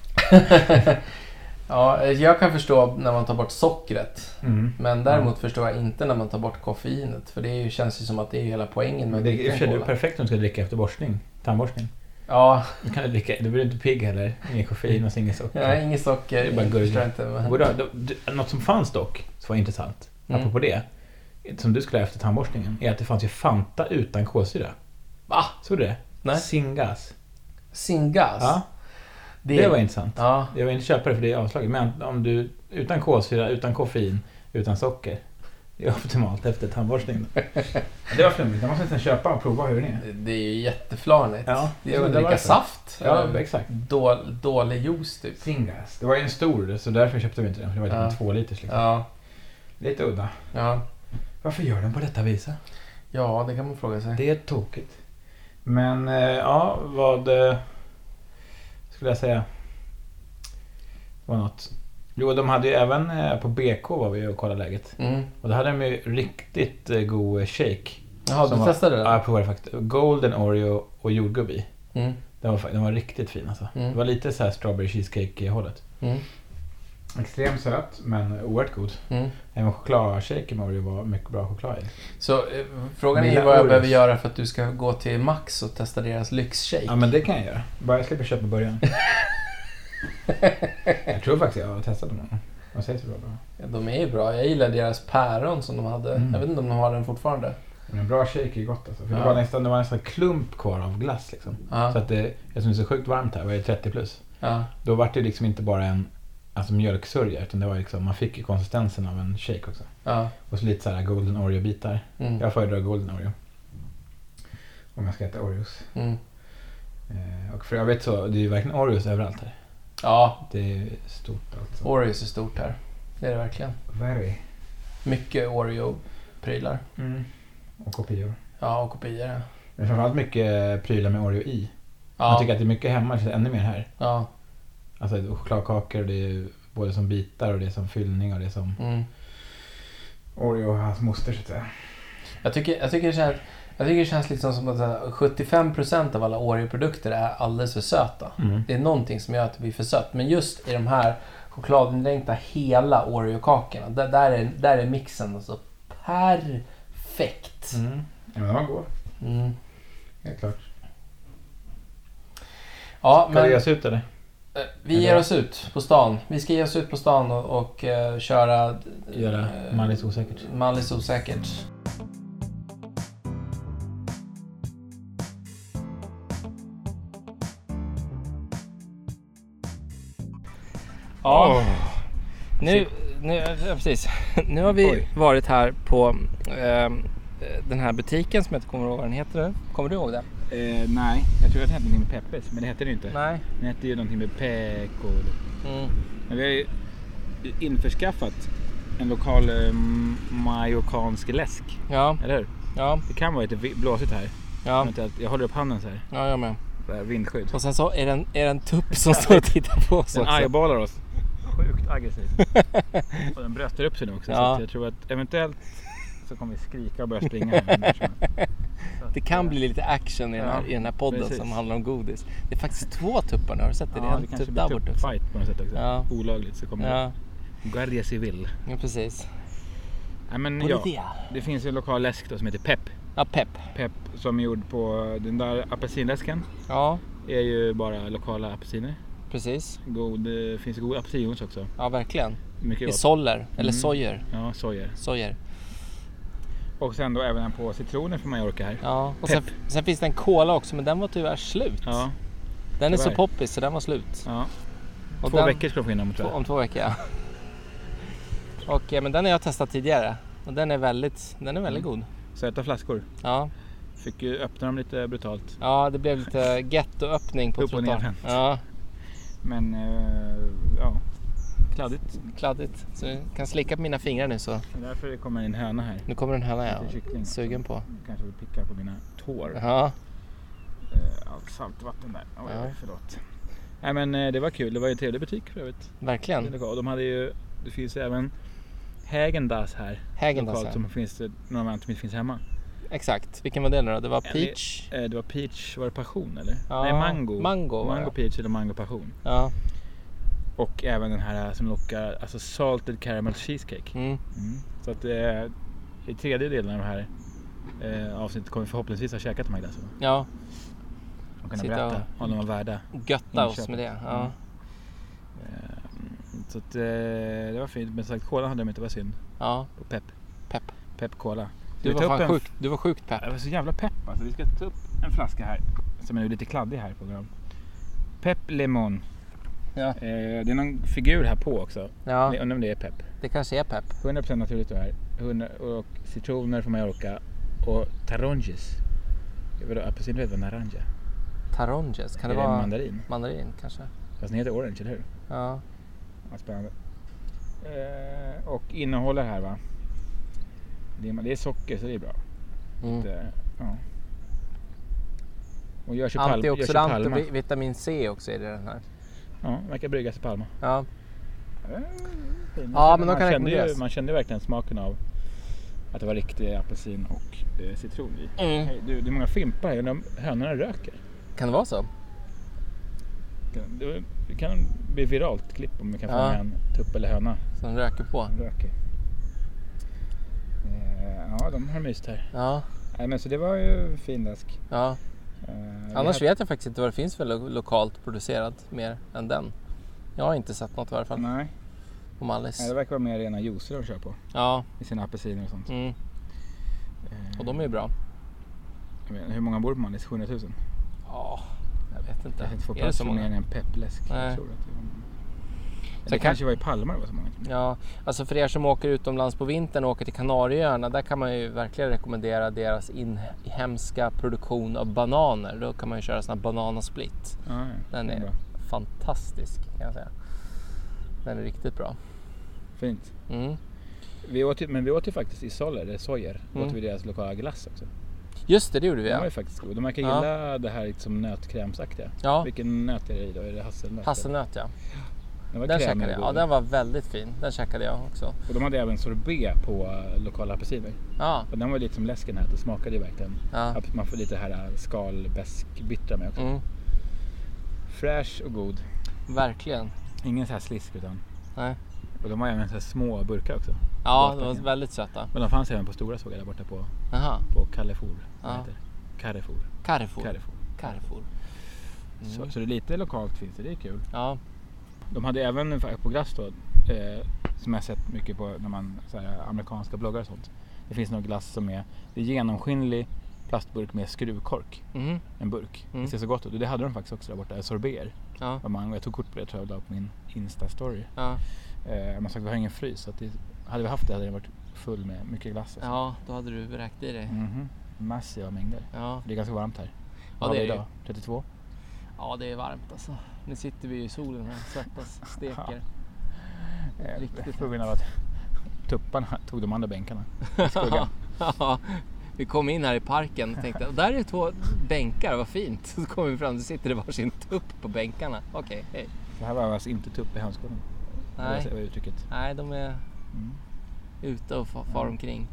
S1: ja, jag kan förstå när man tar bort sockret.
S3: Mm.
S1: Men däremot förstår jag inte när man tar bort koffeinet. För det är ju, känns ju som att det är hela poängen med
S3: Men det är i och för sig det är
S1: cola.
S3: perfekt om du ska dricka efter borstning, tandborstning.
S1: Ja,
S3: Då kan du dricka, då blir du inte pigg heller. Ingen koffein och ingen socker.
S1: nej, inget socker.
S3: Det är bara
S1: jag
S3: gurka.
S1: förstår inte. Men...
S3: Borde, då, d- något som fanns dock, som var intressant,
S1: Mm.
S3: apropå det, som du skulle ha efter tandborstningen, är att det fanns ju Fanta utan kolsyra.
S1: Va?
S3: Såg du det?
S1: Nej. Alltså,
S3: Singas.
S1: Singas?
S3: Ja, det, var intressant.
S1: Ja,
S3: Jag vill inte köpa det för det är avslaget, men om du utan kolsyra, utan koffein, utan socker. Det är optimalt efter tandborstningen. det var flummigt. Man måste nästan köpa och prova hur den är.
S1: det är ju jätteflarnigt.
S3: Ja,
S1: det är som
S3: som
S1: att
S3: att dricka
S1: dricka saft.
S3: Ja,
S1: eller
S3: exakt.
S1: Då, dålig juice typ.
S3: Singas. Det var ju en stor, så därför köpte vi inte den. För det var typ
S1: Ja.
S3: en två liters liksom.
S1: Ja,
S3: Lite udda.
S1: ja.
S3: Varför gör de på detta viset?
S1: ja, det kan man fråga sig.
S3: Det är tokigt. Men eh, ja, vad eh, skulle jag säga? var något. Jo, de hade ju även eh, på BK var vi och kollade läget.
S1: Mm.
S3: Och då hade de ju riktigt eh, god eh, shake.
S1: Jaha,
S3: Som
S1: du
S3: var-
S1: testade
S3: Ja,
S1: det?
S3: jag provade faktiskt. Golden Oreo och jordgubb i.
S1: Mm.
S3: Den var, fa- den var riktigt fin alltså.
S1: Mm.
S3: Det var lite så här strawberry cheesecake-hållet.
S1: Mm.
S3: Extremt söt, men oerhört god.
S1: Mm.
S3: Även chokladshake med Oreo var mycket bra choklad i.
S1: Så eh, frågan är
S3: Lilla
S1: ju vad jag
S3: Oreos.
S1: behöver göra för att du ska gå till Max och testa deras lyxshake.
S3: Ja, men det kan jag göra. Bara jag slipper köpa början. jag tror faktiskt jag har testat dem. De säger så bra. bra.
S1: Ja, De är ju bra. Jag gillar deras päron som de hade.
S3: Mm.
S1: Jag vet inte om de har den fortfarande.
S3: Men en bra shake är gott alltså. För det,
S1: Ja.
S3: var nästan, det var nästan klump kvar av glass liksom.
S1: Ja,
S3: Så att det, eftersom det är så sjukt varmt här, var det 30 plus.
S1: ja,
S3: Då var det liksom inte bara en alltså mjölksörja utan det var liksom, man fick ju konsistensen av en shake också.
S1: Ja.
S3: Och så lite så här golden oreo-bitar.
S1: Mm.
S3: Jag föredrar golden oreo. Om jag ska äta oreos.
S1: Mm.
S3: Eh, och för övrigt så, det är ju verkligen oreos överallt här.
S1: Ja,
S3: Det är stort alltså.
S1: Oreos är stort här. Det är det verkligen.
S3: Very.
S1: Mycket Oreo-prylar.
S3: Mm. Och kopior.
S1: Ja, och kopior. Ja.
S3: Men framförallt mycket prylar med oreo i. Jag tycker
S1: Ja.
S3: att det är mycket hemma, det känns ännu mer här.
S1: ja.
S3: Alltså det är chokladkakor, det är både som bitar och det är som fyllning och det är som...
S1: Mm.
S3: Oreo och hans moster så att säga.
S1: Jag, tycker, jag, tycker det känns, jag tycker det känns liksom som att så här, 75% av alla Oreo-produkter är alldeles för söta.
S3: Mm.
S1: Det är någonting som gör att det blir för sött. Men just i de här chokladindränkta hela Oreo-kakorna, där, där, är, där är mixen alltså perfekt.
S3: Mm. Ja, men de var goda,
S1: Mm.
S3: helt klart.
S1: Ja,
S3: Ska det
S1: men eh,
S3: ges ut eller?
S1: vi ger oss ut på stan. Vi ska ge oss ut på stan och, och eh, köra...
S3: Göra
S1: eh,
S3: Mallis osäkert.
S1: Mallis osäkert. Ja, nu, nu, ja, precis. nu har vi
S3: Oj.
S1: varit här på ehm, den här butiken som jag inte kommer ihåg vad den heter nu. Kommer du ihåg det?
S3: Eh, nej, jag tror att det hette någonting med Peppes, men det hette det inte.
S1: Nej.
S3: Det hette ju någonting med Peko.
S1: Mm.
S3: Men vi har ju införskaffat en lokal eh, majokansk läsk,
S1: Ja,
S3: eller hur?
S1: ja,
S3: Det kan vara lite vi- blåsigt här.
S1: ja,
S3: Vänta, Jag håller upp handen så här.
S1: ja, jag med.
S3: Så här vindskydd.
S1: Och sen så är det en, är det en tupp som står och tittar på oss
S3: Den
S1: också.
S3: eyeballar oss. Sjukt aggressiv. och den bröstar upp sig nu också. Så
S1: Ja.
S3: att jag tror att eventuellt så kommer vi skrika och börja springa. här när som helst. Så att,
S1: Det kan
S3: eh,
S1: bli lite action i, den här,
S3: Ja,
S1: i den här podden
S3: precis.
S1: som handlar om godis. Det är faktiskt två tuppar nu, har du sett det?
S3: Ja,
S1: det är
S3: det
S1: en
S3: kanske
S1: tupp
S3: blir
S1: där borta. också.
S3: tuppfight på något sätt också.
S1: Ja.
S3: Olagligt så kommer
S1: Ja,
S3: det. Guardia Civil.
S1: ja, precis.
S3: Nej, men ja,
S1: Politia.
S3: det finns ju en lokal läsk då som heter Pep.
S1: Ja, pepp.
S3: Pep som är gjord på den där apelsinläsken.
S1: Ja,
S3: är ju bara lokala apelsiner.
S1: precis.
S3: God, det finns god apelsinjuice också.
S1: Ja, verkligen.
S3: Mycket
S1: I
S3: gott.
S1: soller, eller
S3: Mm.
S1: sojer.
S3: ja, sojer.
S1: Sojer.
S3: Och sen då även en på citroner från Mallorca här.
S1: Ja. Och sen, sen finns det en cola också, men den var tyvärr slut.
S3: Ja,
S1: den är så
S3: tyvärr.
S1: poppis så den var slut.
S3: ja.
S1: Och
S3: Två
S1: den,
S3: veckor ska de få in dem tror
S1: två-
S3: jag.
S1: Om två veckor, ja. Och, eh, men den har jag testat tidigare. Och den är väldigt, den är
S3: Mm.
S1: väldigt god.
S3: Söta flaskor.
S1: Ja,
S3: Fick ju öppna dem lite brutalt.
S1: ja det blev lite gettoöppning på
S3: Upp och
S1: trottoaren.
S3: nervänt.
S1: Ja.
S3: Men eh, ja, kladdigt.
S1: kladdigt. Så jag kan slicka på mina fingrar nu så.
S3: Det är därför det kommer en höna här.
S1: Nu kommer den höna jag
S3: Lite kyckling.
S1: är sugen på.
S3: Kanske vill picka på mina tår.
S1: Ja,
S3: Eh, allt saltvatten där. Oj,
S1: Ja.
S3: Förlåt. Nej men eh, det var kul. Det var ju en trevlig butik för övrigt.
S1: verkligen.
S3: Och de hade ju, det finns ju även Hägendas här. Lokalt
S1: Hägendas
S3: som finns, eh, några varor som inte finns hemma.
S1: Exakt. Vilken var det nu då? Det var
S3: Ja, det-
S1: peach.
S3: Eh, Det var peach, var det passion eller?
S1: Ja,
S3: Nej, mango.
S1: mango var
S3: mango
S1: det.
S3: peach eller mango passion.
S1: Ja.
S3: Och även den här som lockar, alltså salted caramel cheesecake.
S1: Mm.
S3: Mm. Så att eh, i tredje delen av det här eh, avsnittet kommer vi förhoppningsvis ha käkat de här glassarna.
S1: ja,
S3: Och kunna
S1: Sitta
S3: berätta om de var värda.
S1: götta oss
S3: Inköpet.
S1: med det. Ja.
S3: Så att eh, det var fint. Men som sagt, kolan hade de inte, det var synd.
S1: ja.
S3: Och pepp.
S1: Pepp.
S3: Pepp cola.
S1: Du
S3: Ska vi
S1: var
S3: ta upp
S1: fan
S3: en-
S1: sjukt, du var sjukt pepp.
S3: Jag var så jävla pepp alltså. Vi ska ta upp en flaska här. Som är lite kladdig här på grund av. Pepp Lemon.
S1: Ja.
S3: Eh, det är någon figur här på också.
S1: Ja,
S3: Jag undrar om det är pepp.
S1: det kanske är pepp.
S3: 100% naturligt det här. 100 och citroner från Mallorca. Och taronges. Vadå apelsinröd var naranja?
S1: Taronges, kan det
S3: Eller är det
S1: vara
S3: mandarin?
S1: mandarin kanske?
S3: Fast den heter orange, eller hur?
S1: Ja.
S3: Ja, spännande. Eh, och innehåller här va? Det är, det är socker så det är bra.
S1: Mm.
S3: Det, eh, ja. Och görs i Pal- görs i
S1: Antioxidant och
S3: Palma.
S1: vi- vitamin C också är det i den här.
S3: Ja, verkar bryggas i Palma.
S1: Ja,
S3: Eh, fin.
S1: Ja, men de
S3: man,
S1: kan
S3: kände ju,
S1: rekommenderas.
S3: man kände verkligen smaken av att det var riktig apelsin och eh, citron i.
S1: mm.
S3: Hej, du, det är många fimpar här. Undrar om hönorna röker?
S1: kan det vara så?
S3: Det- Det kan bli viralt klipp om vi kan få
S1: Ja.
S3: med en tupp eller höna
S1: Så de röker på.
S3: som röker. Eh, Ja, de har myst här.
S1: Ja,
S3: Nej, men så det var ju fin läsk.
S1: ja.
S3: Eh, vi
S1: Annars
S3: hade-
S1: vet jag faktiskt inte vad det finns för lo- lokalt producerat mer än den. Jag har inte sett något i varje fall
S3: Nej,
S1: på Mallis.
S3: nej, det verkar vara mer rena juicer de kör på.
S1: Ja,
S3: I sina apelsiner och sånt.
S1: mm.
S3: Eh,
S1: och de är ju bra.
S3: jag vet inte, hur många bor det på Mallis? 700 000?
S1: Ja, jag vet
S3: Jag
S1: inte.
S3: kan inte få
S1: Är det
S3: plats
S1: så
S3: för mer
S1: många?
S3: än en peppläsk.
S1: Nej.
S3: Jag tror att det var-
S1: Så
S3: Det
S1: kan-
S3: kanske var i Palma det var så många.
S1: Ja, alltså för er som åker utomlands på vintern och åker till Kanarieöarna, där kan man ju verkligen rekommendera deras inhemska produktion av bananer. Då kan man ju köra sån här banana split.
S3: Ja, ja.
S1: Den
S3: Det
S1: är
S3: bra.
S1: fantastisk kan jag säga. Den är riktigt bra.
S3: Fint.
S1: Mm.
S3: Vi åt, ju- men vi åt ju faktiskt i Soller, eller Sojer,
S1: Mm.
S3: åt vi deras lokala glass också.
S1: Just det, det gjorde vi
S3: Den var
S1: ja.
S3: ju faktiskt god. De verkar
S1: Ja.
S3: gilla det här liksom nötkrämsaktiga.
S1: ja.
S3: Vilken nöt är det i då? Är det hasselnöt?
S1: Hasselnöt ja.
S3: Den var
S1: Den
S3: krämig
S1: käkade
S3: och
S1: jag.
S3: god.
S1: Ja, den var väldigt fin. Den käkade jag också.
S3: Och de hade även sorbet på eh, lokala apelsiner.
S1: Ja,
S3: Och den var ju lite som läsken här. Det smakade ju verkligen
S1: ja.
S3: att man får lite det här skalbäskbittra med också.
S1: Mm,
S3: Fräsch och god.
S1: verkligen.
S3: Ingen så här slisk utan.
S1: Nej.
S3: Och de har även så här små burkar också.
S1: Ja,
S3: Gott
S1: de var
S3: verkligen.
S1: väldigt söta.
S3: Men de fanns även på stora såg jag där borta på,
S1: Jaha,
S3: på Carrefour.
S1: Ja.
S3: Ja. Carrefour.
S1: Carrefour.
S3: Carrefour.
S1: Carrefour.
S3: Så,
S1: Mm.
S3: så det är lite lokalt finns det, det är kul.
S1: Ja,
S3: De hade även en färg på glass då, eh, som jag sett mycket på när man, så här, amerikanska bloggar och sånt. Det finns någon glass som är, det är genomskinlig plastburk med skruvkork.
S1: mhm,
S3: En burk.
S1: Mm.
S3: Det ser så gott ut. Och det hade de faktiskt också där borta, sorber.
S1: ja,
S3: Och man, jag tog kort på det tror jag och la på min Insta-story.
S1: ja.
S3: Eh, man sagt vi har ingen frys, så att det, hade vi haft det hade den varit full med mycket glass. Alltså.
S1: Ja, då hade du räknat i dig.
S3: Mhm. Massiva mängder.
S1: Ja.
S3: Det är ganska varmt här.
S1: Ja,
S3: Vad
S1: det
S3: har vi
S1: är det Eh,
S3: idag? 32?
S1: ja, det är varmt alltså. Nu sitter vi ju i solen här, svettas, steker. Riktigt
S3: Riktigt på grund av att tupparna tog de andra bänkarna. i skuggan.
S1: Ja, vi kom in här i parken och tänkte, där är två bänkar, vad fint. Så kom vi fram, så sitter det varsin tupp på bänkarna. Okej, hej.
S3: Det här var alltså inte tupp i hönsgården.
S1: Nej.
S3: Nej. Det var uttrycket.
S1: Nej, de är
S3: Mm.
S1: ute och fa- far omkring.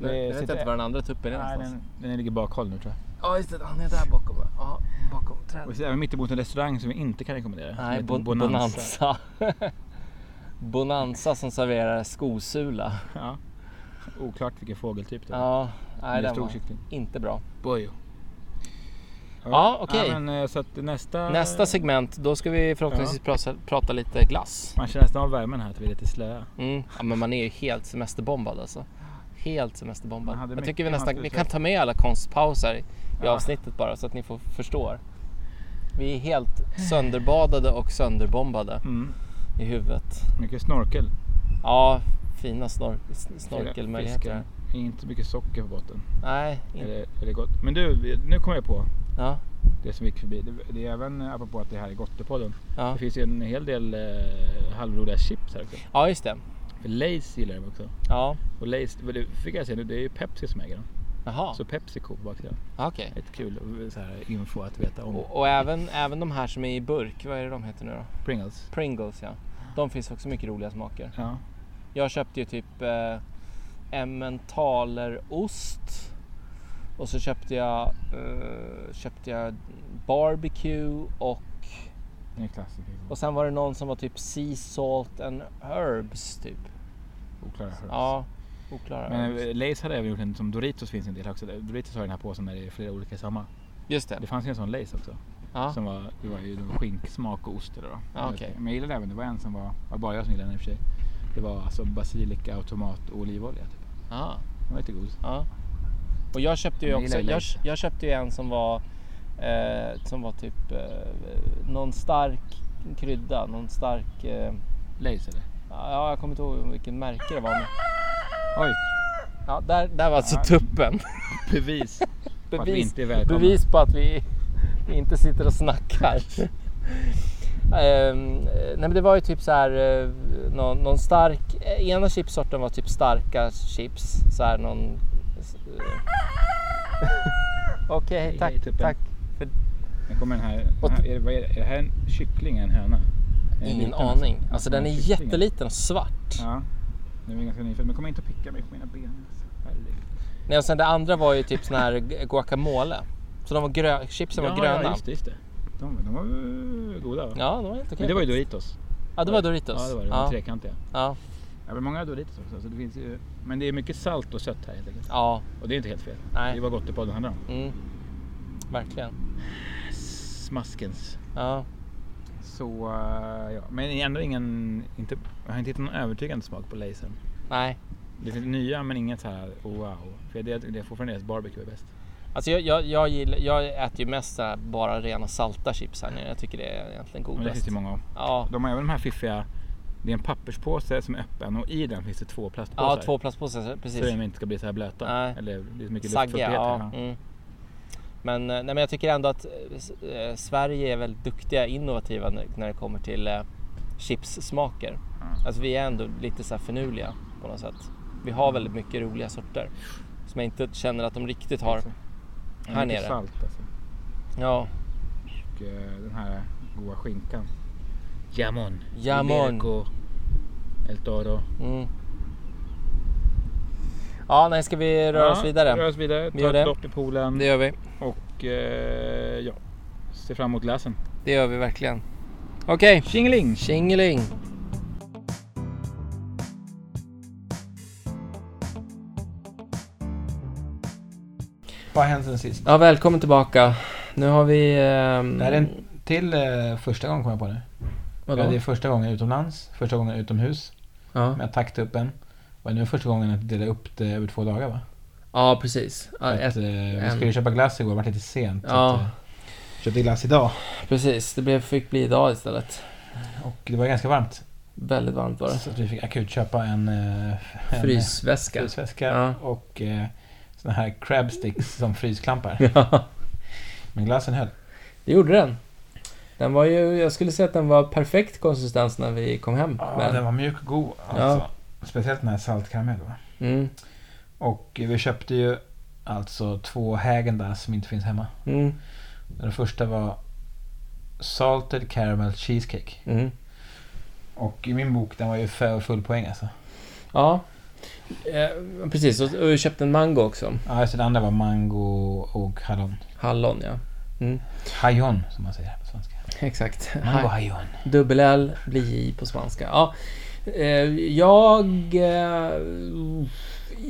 S1: Nu
S3: Det
S1: nu vet
S3: sitter-
S1: jag inte var den andra tuppen är
S3: Nej,
S1: någonstans.
S3: den, den ligger bakhåll nu tror jag.
S1: Ja, just det, han är där bakom. va? Ja, bakom
S3: Och vi
S1: trädet.
S3: sitter även mittemot en restaurang som vi inte kan rekommendera. som
S1: Nej,
S3: heter
S1: bon- Bonanza. Bonanza som serverar skosula.
S3: Ja. Oklart vilken fågeltyp det var.
S1: Ja,
S3: Men
S1: nej,
S3: det är
S1: den
S3: stor
S1: var
S3: kyckling.
S1: inte bra.
S3: Bojo.
S1: Ja, okej.
S3: Ja, men, eh, så att nästa...
S1: Nästa segment, då ska vi förhoppningsvis prata, prata lite glass.
S3: Man känner nästan av värmen här, att vi är lite slöa.
S1: Mm. Ja, men man är ju helt semesterbombad alltså. Helt semesterbombad.
S3: Man hade
S1: Jag tycker
S3: mycket
S1: vi nästan
S3: man
S1: vi
S3: skulle
S1: kan ta med alla konstpauser i
S3: Ja.
S1: avsnittet bara så att ni får förstår. Vi är helt sönderbadade och sönderbombade
S3: Mm.
S1: i huvudet.
S3: Mycket snorkel.
S1: Ja, fina snor- s- snorkelmöjligheter.
S3: Fisken. Det är Inte mycket socker på botten.
S1: Nej,
S3: Är
S1: inte.
S3: det, är det gott? Men du, vi- nu kommer jag på
S1: Ja,
S3: det som gick förbi. Det, det är även eh, apropå att det här är Gottepodden.
S1: ja.
S3: Det finns ju en hel del eh, halvroliga chips här också.
S1: ja, just det.
S3: För Lays gillar jag också.
S1: Ja,
S3: Och Lays, vad det fick jag se nu, det är ju Pepsi som äger dem.
S1: jaha,
S3: Så Pepsico på baksidan.
S1: okej.
S3: Ett kul eh, så här, info att veta om
S1: Och, och även, även de här som är i burk, vad är det de heter nu då?
S3: Pringles.
S1: Pringles ja. De finns också mycket roliga smaker.
S3: Ja.
S1: Jag köpte ju typ eh, emmentaler-ost. Och så köpte jag, eh, köpte jag barbecue och,
S3: Det är klassiker.
S1: och sen var det någon som var typ sea salt and herbs typ.
S3: Oklara herbs.
S1: Ja, oklara
S3: Men
S1: herbs.
S3: eh, Lays hade även gjort en som Doritos finns en del också. Doritos har den här påsen där det är flera olika samma.
S1: Just det.
S3: Det fanns ju en sån Lays också.
S1: Ja.
S3: Som var, det var ju det var skinksmak och ost eller då.
S1: Ja, okej.
S3: Men jag gillade även, det var en som var, var bara jag som gillade den i och för sig. Det var alltså basilika och tomat och olivolja. Typ.
S1: Ja.
S3: Den var lite god.
S1: Ja. Och jag köpte ju
S3: Jag
S1: också,
S3: gillar ju
S1: jag,
S3: Lays.
S1: jag köpte ju en som var, eh, som var typ eh, någon stark krydda, någon stark, eh,
S3: Lays eller?
S1: ja jag kommer inte ihåg vilken märke det var. Men,
S3: Oj,
S1: ja, där, där var alltså
S3: Ja.
S1: tuppen.
S3: bevis på att vi
S1: Bevis,
S3: inte är välkomna.
S1: bevis på att vi inte sitter och snackar. Ehm, nej men det var ju typ så här eh, någon, någon stark, eh, ena chipsorten var typ starka chips. Så här någon... eh. Okej,
S3: Hej,
S1: tack,
S3: hej, tuppen.
S1: tack. För,
S3: Nu kommer den här. Den
S1: Och-
S3: här är, det, vad är, det? är det här en kyckling eller en höna? Den är
S1: ingen
S3: liten,
S1: aning. Alltså den är
S3: en kyckling.
S1: jätteliten och svart.
S3: Ja. Nu är vi ganska nyfiken. Men kom inte och picka mig på mina ben. alltså. Herregud.
S1: Nej, och sen det andra var ju typ sån här gu- guacamole. Så de var grö- chipsen var gröna.
S3: Ja,
S1: Ja,
S3: just det. Just det. De, de var eh, goda va?
S1: de var helt okej.
S3: Men det var ju
S1: faktiskt.
S3: Doritos.
S1: Ja, det var Doritos.
S3: Ja, det var det. De
S1: Ja,
S3: trekantiga.
S1: ja,
S3: Ja, men många har Doritos också. Så det finns ju... Men det är mycket salt och sött här helt enkelt.
S1: ja.
S3: Och det är inte helt fel.
S1: Nej.
S3: Det är vad Gottepodden handlar om.
S1: Mm. Verkligen.
S3: Smaskens.
S1: Ja.
S3: Så eh, ja. Men ändå ingen... Inte, jag har inte hittat någon övertygande smak på Lays än.
S1: Nej.
S3: Det finns nya men inget så här oh, wow. För det, det är fortfarande deras barbecue är bäst.
S1: Alltså jag, jag, jag, gillar, jag äter ju mest så här bara rena salta chips här nere. Jag tycker det är egentligen
S3: Men det
S1: godast.
S3: finns ju många av.
S1: Ja,
S3: De har även de här fiffiga
S4: Det är en papperspåse som är öppen och i den finns det två plastpåsar.
S1: Ja, två plastpåsar.
S4: så de
S1: Precis.
S4: inte ska bli så här blöta.
S1: Nej.
S4: Eller det är så mycket
S1: Saggiga.
S4: luftfuktighet.
S1: Ja.
S4: Ja.
S1: Mm. Men, eh, nej, men jag tycker ändå att eh, s- eh, Sverige är väldigt duktiga innovativa när, när det kommer till eh, chipssmaker.
S4: Mm.
S1: Alltså vi är ändå lite så här finurliga på något sätt. Vi har väldigt mycket roliga sorter som jag inte känner att de riktigt har.
S4: Exakt.
S1: här
S4: Det är mycket
S1: nere.
S4: salt alltså.
S1: Ja,
S4: Och eh, den här goda skinkan. Jamon.
S1: Jamon.
S4: Iberico. El Toro.
S1: mm. Ja, nej, ska vi röra oss
S4: Ja,
S1: vidare?
S4: Rör oss vidare.
S1: Vi
S4: Vi
S1: gör
S4: gör
S1: det.
S4: ett dopp i poolen.
S1: Det gör vi.
S4: Och eh, ja. Se fram emot glassen.
S1: Det gör vi verkligen. Okej,
S4: Tjingeling!
S1: tjingeling!
S3: Vad har hänt sen sist?
S1: Ja, välkommen tillbaka. Nu har vi... ehm,
S3: Det här är en till eh, första gången kom jag på det.
S1: vadå?
S3: Ja, det är första gången utomlands, första gången utomhus.
S1: Ja.
S3: Men jag taktade upp en. Och nu är första gången att dela upp det över två dagar va?
S1: ja, precis. Ja,
S3: För att,
S1: ett,
S3: eh, vi
S1: en-
S3: skulle ju köpa glass igår, det var lite sent. så
S1: Ja.
S3: Att, eh, köpte glass idag.
S1: precis. Det blev, fick bli idag istället.
S3: Och det var ganska varmt.
S1: Väldigt varmt var det.
S3: Så att vi fick akut köpa en, eh, en
S1: Frysväska.
S3: frysväska
S1: Ja.
S3: och eh, såna här crab sticks som frysklampar.
S1: Ja,
S3: Men glassen höll.
S1: det gjorde den. Den var ju... Jag skulle säga att den var perfekt konsistens när vi kom hem.
S3: Ja,
S1: Men-
S3: den var mjuk och god alltså. Speciellt den här saltkaramellen va?
S1: Mm.
S3: Och eh, vi köpte ju alltså två häagen som inte finns hemma.
S1: Mm.
S3: Den första var Salted Caramel Cheesecake.
S1: Mm.
S3: Och i min bok, den var ju för full poäng alltså.
S1: Ja. Eh, precis, och, och vi köpte en mango också.
S3: Ja, just det, den andra var mango och hallon.
S1: Hallon, ja.
S3: Hajon, som man säger på svenska.
S1: Exakt.
S3: Mango hajon.
S1: Dubbel L blir J på spanska. Ja. Eh, Jag, eh,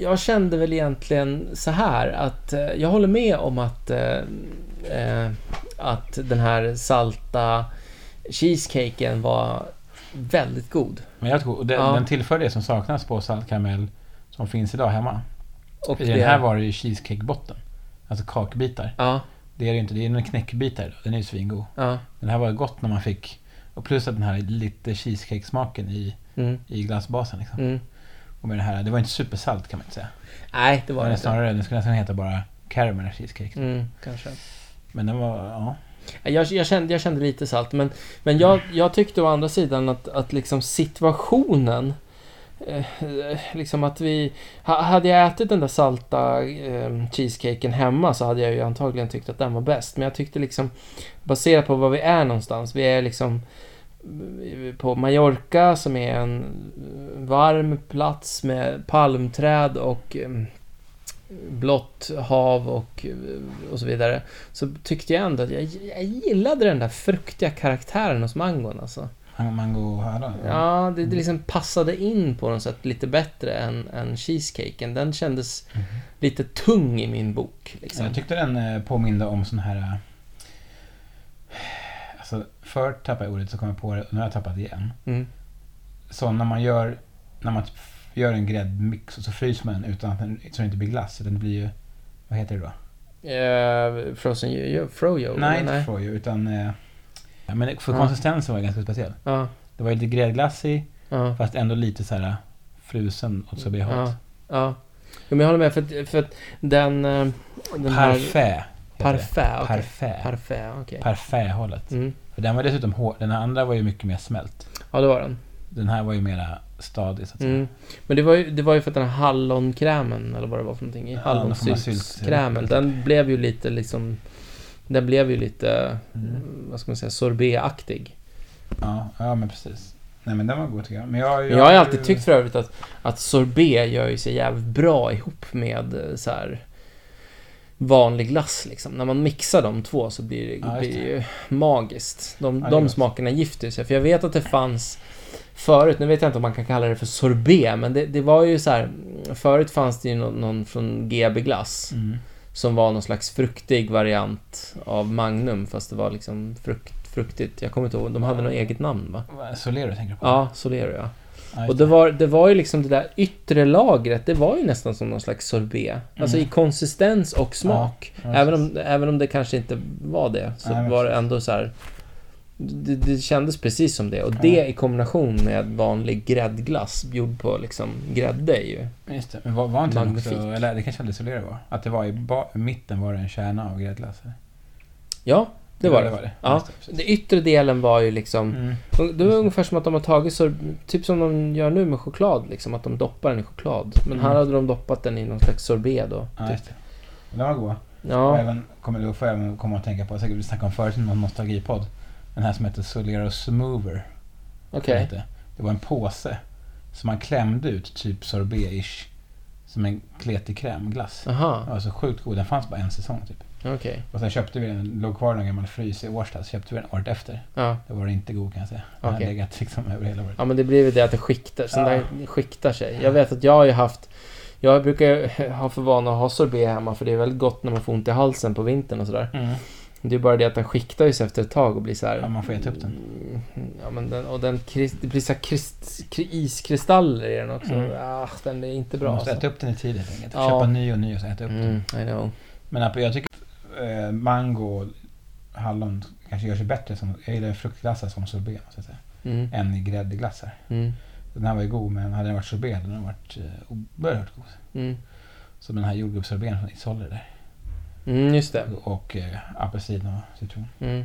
S1: jag kände väl egentligen så här att eh, jag håller med om att, eh, eh, att den här salta cheesecaken var väldigt god.
S3: Men jag tror, och den,
S1: Ja.
S3: den tillför det som saknas på saltkaramell som finns idag hemma.
S1: Och
S3: I den här var det ju cheesecakebotten. Alltså kakbitar.
S1: Ja,
S3: Det är det ju inte, det är en knäckbitar. då. Den är ju svingod.
S1: ja.
S3: Den här var ju gott när man fick, och plus att den här lite cheesecake-smaken i,
S1: Mm,
S3: i glassbasen liksom.
S1: mm.
S3: Och med det här, det var inte supersalt kan man inte säga.
S1: Nej, det var
S3: Var
S1: det
S3: den
S1: inte.
S3: snarare, den skulle nästan heta bara caramel cheesecake.
S1: Mm, kanske.
S3: Men den var, ja.
S1: Jag, jag, kände, jag kände lite salt, men, men jag, jag tyckte å andra sidan att, att liksom situationen... Eh, liksom att vi... ha- Hade jag ätit den där salta eh, cheesecaken hemma så hade jag ju antagligen tyckt att den var bäst. Men jag tyckte liksom, baserat på var vi är någonstans, vi är liksom eh, på Mallorca som är en eh, varm plats med palmträd och eh, blått hav och, eh, och så vidare så tyckte jag ändå att jag, jag gillade den där fruktiga karaktären hos mangon alltså.
S3: Man- Mango och hallon.
S1: Ja, det, det liksom passade in på något sätt lite bättre än, än cheesecaken. Den kändes lite tung i min bok.
S3: Mm-hmm. Ja,
S1: Liksom.
S3: Jag tyckte den eh, påminde om sån här... eh, Alltså, förr tappade jag ordet så kom jag på det och nu har jag tappat det igen.
S1: Mm.
S3: Så när man gör, när man typ gör en gräddmix och så fryser man den utan att den, så det inte blir glass. Utan det blir ju, vad heter det då?
S1: Eh, frozen Yo- Froyo?
S3: nej,
S1: eller?
S3: inte froyo utan... eh, Ja, men för
S1: Ja.
S3: konsistensen var det ganska speciell.
S1: Ja,
S3: Det var ju lite gräddglassig
S1: ja,
S3: fast ändå lite så här eh, frusen åt så blir
S1: ja.
S3: hårt.
S1: ja. Jo, men jag håller med, för att, för att den... eh, den här-
S3: Parfait. heter det.
S1: Parfait. okej.
S3: Parfait.
S1: Parfait, okej.
S3: Parfait-hållet.
S1: Mm.
S3: För den var dessutom hård. Den andra var ju mycket mer smält.
S1: Ja, det var den.
S3: Den här var ju mera stadig så att säga.
S1: Mm. Men det var, ju, det var ju för att den här hallonkrämen, eller vad det var för någonting, i
S3: Ja, någon form av
S1: hallonsyltkrämen,
S3: sylt.
S1: den blev ju lite liksom... Den blev ju lite,
S3: Mm.
S1: vad ska man säga, sorbetaktig.
S3: Ja, ja, men precis. Nej men den var god tycker jag. Men jag,
S1: Jag har ju alltid tyckt för övrigt att, att sorbet gör ju sig jävligt bra ihop med eh, så här vanlig glass liksom. När man mixar de två så blir det,
S3: Ja, just
S1: blir
S3: det.
S1: det ju magiskt. De,
S3: Ja, det är
S1: de
S3: gott.
S1: smakerna gifter sig. För jag vet att det fanns förut, nu vet jag inte om man kan kalla det för sorbet, men det, det var ju så här. Förut fanns det ju någon, någon från GB Glass
S3: Mm.
S1: som var någon slags fruktig variant av Magnum, fast det var liksom frukt, fruktigt. Jag kommer inte ihåg, de hade något eget namn va?
S3: Vad, Solero tänker du på?
S1: Ja, Solero ja.
S3: Ja, just
S1: Och det var, det var ju liksom det där yttre lagret, det var ju nästan som någon slags sorbet. Alltså i konsistens och smak.
S3: Mm. Ja,
S1: även,
S3: precis.
S1: om, även om det kanske inte var det, så
S3: Nej, men
S1: var det
S3: precis.
S1: ändå så här Det, det kändes precis som det. Och det i kombination med vanlig gräddglass gjord på liksom grädde är ju...
S3: Just det. Men var, var inte den också,
S1: Magnifik.
S3: eller det kanske var det Solera var? Att det var i ba- mitten var det en kärna av gräddglass? eller?
S1: Ja, det var
S3: Ja,
S1: det.
S3: var det.
S1: Ja.
S3: Just det, precis.
S1: Den yttre delen var ju liksom...
S3: Mm.
S1: Det var ungefär som att de har tagit så, typ som de gör nu med choklad liksom, att de doppar den i choklad. Men här
S3: Mm.
S1: hade de doppat den i någon slags sorbet då.
S3: Ja,
S1: typ.
S3: just det. Men de var goda. Och
S1: Ja,
S3: även, kommer du få även komma att tänka på, säkert vi snackade om förut i någon nostalgipodd. Den här som heter Solero Smoover.
S1: okej.
S3: hette. Det var en påse som man klämde ut, typ sorbet-ish. Som en kletig krämglass. Den
S1: Aha,
S3: var så sjukt god. Den fanns bara en säsong typ.
S1: okej.
S3: Och sen köpte vi den, låg kvar i någon gammal frys i Årsta, så köpte vi den året efter.
S1: Ja.
S3: Då var den inte god kan jag säga. Den
S1: Okej.
S3: har legat liksom över hela året.
S1: ja, men det blir väl det att det skiktar, sånt
S3: Ja.
S1: där skiktar sig. Jag vet att jag har ju haft... Jag brukar ju ha för vana att ha sorbet hemma för det är väldigt gott när man får ont i halsen på vintern och sådär.
S3: Mm.
S1: Det är bara det att den skiktar ju sig efter ett tag och blir så här.
S3: Ja, man får äta upp den.
S1: Mm, Ja, men den, och den krist, det blir så här krist, kri- iskristaller i den också.
S3: Mm.
S1: Ah, den är inte
S3: Bra,
S1: bra
S3: man måste
S1: alltså.
S3: äta upp den i tid helt enkelt.
S1: Ja.
S3: Köpa ny och ny och så äta upp den.
S1: Mm, I know.
S3: Men att jag tycker att eh, mango och hallon kanske gör sig bättre som, jag gillar fruktglassar som sorbet måste jag säga.
S1: Mm,
S3: Än i gräddglassar.
S1: mm,
S3: Den här var ju god men hade den varit sorbet hade den varit eh, oerhört god.
S1: mm.
S3: Som den här jordgubbssorbeten från Isolde där.
S1: Mm, just det.
S3: Och eh, apelsin och citron.
S1: Mm,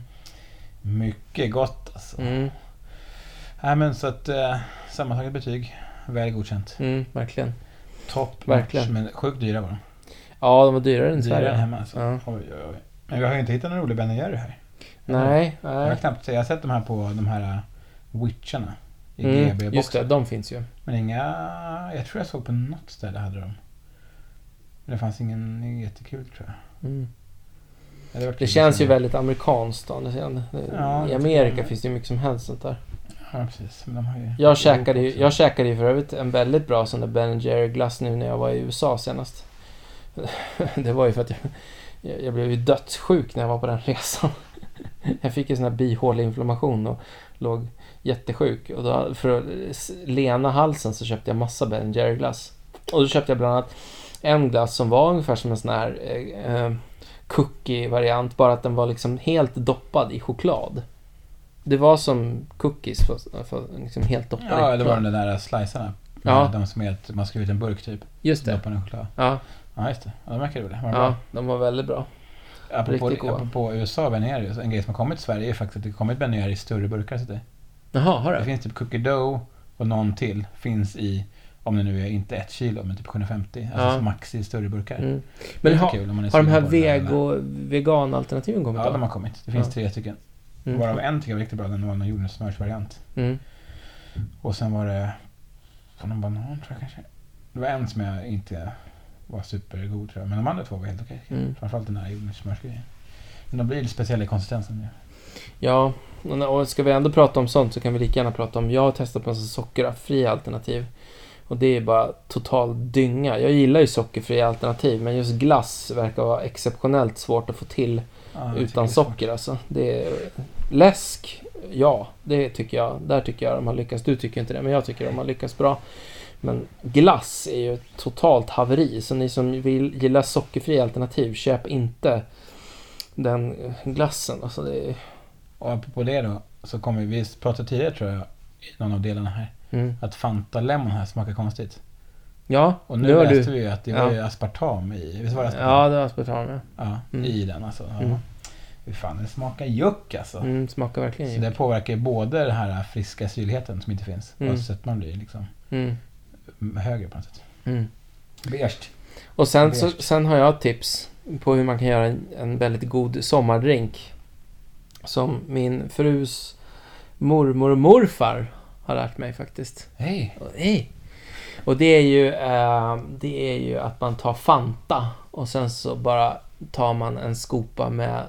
S3: Mycket gott alltså.
S1: mm,
S3: Nej men så att eh, sammantaget betyg, väl godkänt.
S1: mm, verkligen.
S3: Topp
S1: Verkligen.
S3: match, men sjukt dyra var de.
S1: Ja, de var dyrare än
S3: Dyrare än
S1: Sverige.
S3: hemma alltså.
S1: Ja.
S3: Oj, oj, oj. Men vi har ju inte hittat någon rolig Ben Jerry här.
S1: Nej,
S3: Jag har
S1: nej.
S3: knappt jag har sett de här på de här eh, witcharna. I
S1: Mm, just det,
S3: GB-boxen.
S1: de finns ju.
S3: Men inga... Jag tror jag såg på något ställe hade de. Men det fanns ingen jättekul tror jag.
S1: Mm.
S3: Ja, var
S1: Det
S3: kul
S1: känns ju
S3: senare.
S1: väldigt amerikanskt. å andra sidan.
S3: Ja,
S1: I
S3: det tycker
S1: Amerika
S3: jag.
S1: finns det ju mycket som helst sånt där.
S3: Ja precis. Men de har ju...
S1: Jag käkade, ju,
S3: också.
S1: jag käkade ju för övrigt en väldigt bra sån där Ben Jerry glass nu när jag var i USA senast. Det var ju för att jag, jag, jag blev ju dödssjuk när jag var på den resan. Jag fick ju sån här bihåleinflammation och låg jättesjuk. Och då, för att s- lena halsen så köpte jag massa Ben Jerry glass. Och då köpte jag bland annat en glass som var ungefär som en sån här eh, eh, cookie-variant. Bara att den var liksom helt doppad i choklad. Det var som cookies fast, fast liksom helt doppade i
S3: Ja, det var
S1: choklad.
S3: de där slicerna.
S1: Ja.
S3: De som är att man skriver ut en burk typ.
S1: Just det.
S3: Doppar den i choklad.
S1: Ja,
S3: Ja, just det. Ja, de verkar roliga. Var det
S1: ja, de var väldigt bra.
S3: bra? Apropå,
S1: riktigt goda.
S3: apropå USA och Ben Jerry, så en grej som har kommit till Sverige är faktiskt att det har kommit Ben Jerry i större burkar. Så det,
S1: Jaha, har
S3: det
S1: du?
S3: finns typ cookie dough och någon till finns i, om det nu är inte ett kilo, men typ 750. Alltså
S1: Ja.
S3: max i större burkar.
S1: Mm.
S3: Det är
S1: Men
S3: lite
S1: ha,
S3: kul om man är
S1: har de här
S3: sugen på den här
S1: vego, veganalternativen kommit
S3: Ja,
S1: då?
S3: de har kommit. Det finns
S1: Ja.
S3: tre stycken.
S1: Mm.
S3: Varav en tycker jag var riktigt bra, den var någon jordnötssmörsvariant.
S1: Mm.
S3: Och sen var det... Var någon banan tror jag kanske? Det var en som jag inte var supergod tror jag. Men de andra två var helt okej.
S1: Mm.
S3: Framförallt den här jordnötssmörsgrejen. Men de blir lite speciella i konsistensen. Ja.
S1: Ja, men- och ska vi ändå prata om sånt så kan vi lika gärna prata om... Jag har testat på en sån sockerfri alternativ. Och det är bara total dynga. Jag gillar ju sockerfria alternativ men just glass verkar vara exceptionellt svårt att få till
S3: Ja, jag tycker det är
S1: utan
S3: svårt.
S1: socker alltså. Det är... Läsk, ja, det tycker jag. Där tycker jag de har lyckats. Du tycker inte det, men jag tycker de har lyckats bra. Men glass är ju ett totalt haveri. Så ni som vill gilla sockerfria alternativ, köp inte den glassen. Alltså det är...
S3: Och apropå det då. Så kommer vi, vi pratade tidigare tror jag i någon av delarna här.
S1: mm.
S3: Att Fanta Lemon här smakar konstigt.
S1: Ja,
S3: Och nu,
S1: har
S3: läste
S1: du...
S3: vi ju att det
S1: Ja.
S3: var ju aspartam i. Visst var det aspartam?
S1: Ja, det var aspartam ja.
S3: Ja,
S1: Mm.
S3: i den alltså. Ja.
S1: Mm.
S3: Fy fan, det smakar juck alltså.
S1: Mm, smakar verkligen
S3: Så
S1: ju.
S3: det påverkar ju både den här friska syrligheten som inte finns
S1: Mm.
S3: och så att man blir liksom
S1: Mm,
S3: högre på något sätt.
S1: mm.
S3: Beige.
S1: Och sen, så,
S3: Beige.
S1: sen har jag ett tips på hur man kan göra en, en väldigt god sommardrink. Som min frus mormor och morfar har lärt mig faktiskt.
S3: Hej!
S1: Och, hej. och det är ju eh, det är ju att man tar Fanta och sen så bara tar man en skopa med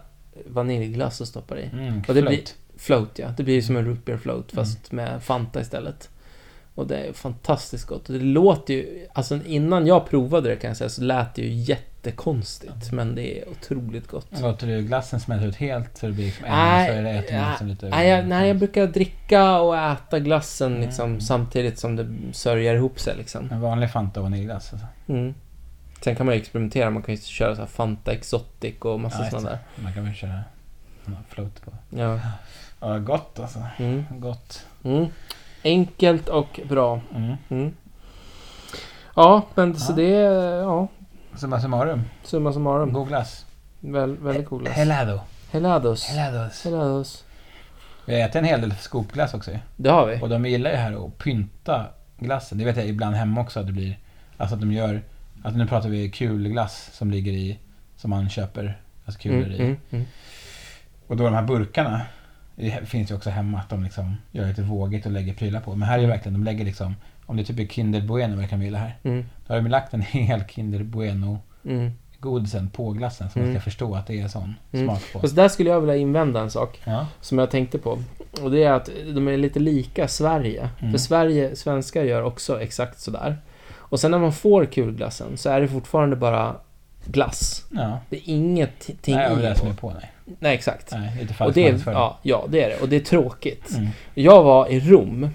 S1: vaniljglass och stoppar i.
S3: Mm,
S1: Och det blir-
S3: flöjt.
S1: Float ja, det blir ju som en root beer float
S3: Mm.
S1: fast med Fanta istället. Och det är fantastiskt gott. Och det låter ju, alltså innan jag provade det kan jag säga så lät det ju jättekonstigt. Men det är otroligt gott.
S3: Men Låter du glassen smälta ut helt så det blir liksom en
S1: Nej,
S3: så är det ett
S1: ja,
S3: som lite...
S1: Nej jag, nej, jag brukar dricka och äta glassen liksom
S3: Mm.
S1: samtidigt som det sörjer ihop sig liksom.
S3: En vanlig Fanta och vaniljglass alltså.
S1: Mm. Sen kan man ju experimentera, man kan ju köra så här Fanta Exotic och massa
S3: Ja,
S1: sådana där.
S3: Man kan väl köra man har float på.
S1: Ja.
S3: Ja, gott alltså.
S1: Mm.
S3: Gott.
S1: Mm. Enkelt och bra.
S3: Mm.
S1: Mm. Ja, men så
S3: Ja.
S1: det är... Ja,
S3: Summa summarum.
S1: summa summarum.
S3: God glass.
S1: Väl, väldigt cool.
S3: Helado.
S1: Helados.
S3: Helados.
S1: Helados.
S3: Vi har ätit en hel del skopglass också ju.
S1: Det har vi.
S3: Och de gillar ju här att pynta glassen. Det vet jag ibland hemma också att det blir. Alltså att de gör, alltså nu pratar vi kulglass som ligger i, som man köper, alltså kulor
S1: Mm,
S3: i.
S1: mm, mm.
S3: Och då de här burkarna, det finns ju också hemma att de liksom gör lite vågigt och lägger prylar på. Men här är ju verkligen, de lägger liksom, om det typ är Kinder Bueno verkar vi gilla här.
S1: Mm,
S3: Då har de lagt en hel Kinder Bueno
S1: mm.
S3: godisen på glassen så man ska förstå att det är sån
S1: Mm.
S3: smak på.
S1: Fast där skulle jag vilja invända en sak
S3: Ja.
S1: som jag tänkte på. Och det är att de är lite lika Sverige.
S3: Mm.
S1: För Sverige, svenskar gör också exakt sådär. Och sen när man får kulglassen så är det fortfarande bara glass.
S3: Ja.
S1: Det är ingenting
S3: Nej, det är
S1: i.
S3: det som är på. Nej,
S1: Nej, exakt.
S3: nej lite
S1: och
S3: falsk
S1: det är,
S3: marknadsföring.
S1: ja, ja, det är det. Och det är tråkigt.
S3: Mm.
S1: Jag var i Rom.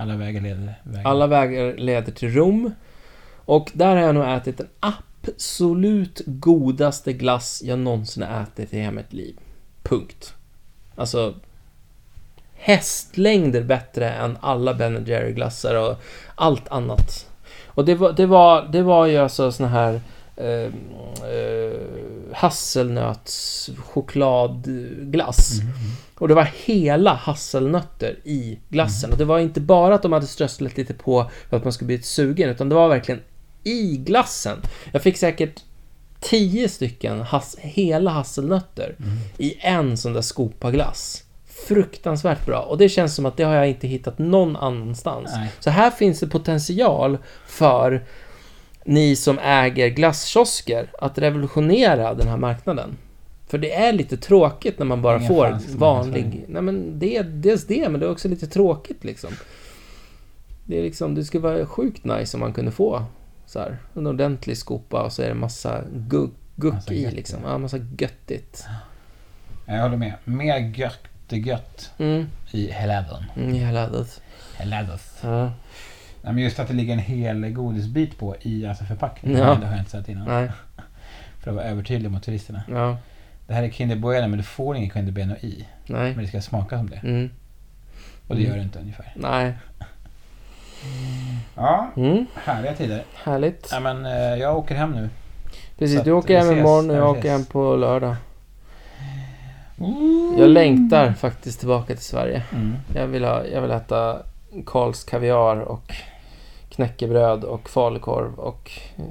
S3: Alla vägar leder vägen.
S1: Alla vägar leder till Rom. Och där har jag nog ätit den absolut godaste glass jag någonsin har ätit i hela mitt liv. Punkt. Alltså... Hästlängder bättre än alla Ben Jerry glassar och allt annat. Och det var, det var, det var ju alltså såna här eh, eh, hasselnötschokladglass.
S3: Mm.
S1: Och det var hela hasselnötter i
S3: Mm.
S1: glassen. Och det var inte bara att de hade strösslat lite på för att man skulle bli lite sugen, utan det var verkligen i glassen. Jag fick säkert tio stycken has- hela hasselnötter
S3: Mm.
S1: i en sån där skopa glass. Fruktansvärt bra. Och det känns som att det har jag inte hittat någon annanstans.
S3: Nej.
S1: Så här finns det potential för ni som äger glasskiosker att revolutionera den här marknaden. För det är lite tråkigt när man bara
S3: Ingen
S1: får
S3: fransk
S1: vanlig...
S3: marknadsföring.
S1: Nej men det är dels det, men det är också lite tråkigt liksom. Det är liksom, det skulle vara sjukt nice om man kunde få så här, en ordentlig skopa och så är det massa guck, guck
S3: Massa
S1: i
S3: gött,
S1: liksom.
S3: ja.
S1: Ja, massa göttigt.
S3: Jag håller med. Mer gött, gött
S1: Mm,
S3: i Heladen.
S1: mm jag laddat.
S3: Helados.
S1: Ja,
S3: Nej, men just att det ligger en hel godisbit på i alltså förpackningen.
S1: Ja.
S3: Det har jag inte sagt innan.
S1: nej,
S3: För att vara övertydlig mot turisterna.
S1: ja,
S3: Det här är Kinder Bueno men du får ingen Kinder Bueno i.
S1: nej,
S3: Men det ska smaka som det.
S1: mm,
S3: Och det
S1: Mm.
S3: gör det inte ungefär.
S1: nej.
S3: Ja,
S1: Mm,
S3: härliga tider.
S1: härligt.
S3: Nej, men, eh, jag åker hem nu. Så
S1: Precis,
S3: att
S1: du
S3: vi
S1: åker hem
S3: ses,
S1: imorgon och
S3: vi
S1: jag
S3: ses.
S1: åker hem på lördag. Mm. Jag längtar faktiskt tillbaka till Sverige.
S3: Mm.
S1: Jag vill, ha, jag vill äta Karls kaviar och knäckebröd och falukorv och... eh,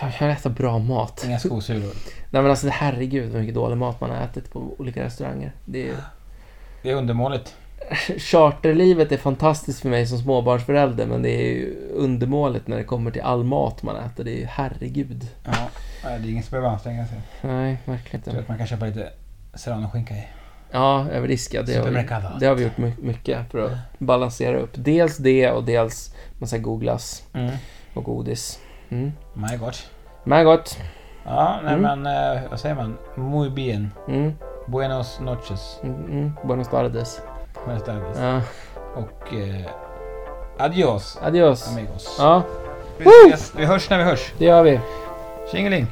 S1: Jag vill äta bra mat.
S3: Inga skosulor.
S1: Nej men alltså herregud vad mycket dålig mat man har ätit på olika restauranger. Det är...
S3: Det är undermåligt.
S1: Charterlivet är fantastiskt för mig som småbarnsförälder men det är ju undermåligt när det kommer till all mat man äter. Det är ju herregud.
S3: Ja, nej, det är ingen som behöver anstränga sig.
S1: Nej, verkligen
S3: Jag tror
S1: inte.
S3: att man kan köpa lite serranoskinka i.
S1: Ja, över diska. Det har, vi,
S3: Supermercado.
S1: det har vi gjort my- mycket för att balansera upp. Dels det och dels massa god glass
S3: Mm.
S1: och godis. Mm.
S3: My God.
S1: Men gott.
S3: Ja, nej,
S1: Mm.
S3: men eh, vad säger man? Muy bien.
S1: Mm.
S3: Buenos noches.
S1: Mm. Mm. Buenos tardes.
S3: Buenas tardes.
S1: Ja. Mm.
S3: Och eh, adios
S1: Adios.
S3: amigos.
S1: Ja,
S3: Vi, ses, vi hörs när vi hörs.
S1: det gör vi.
S3: Tjingeling!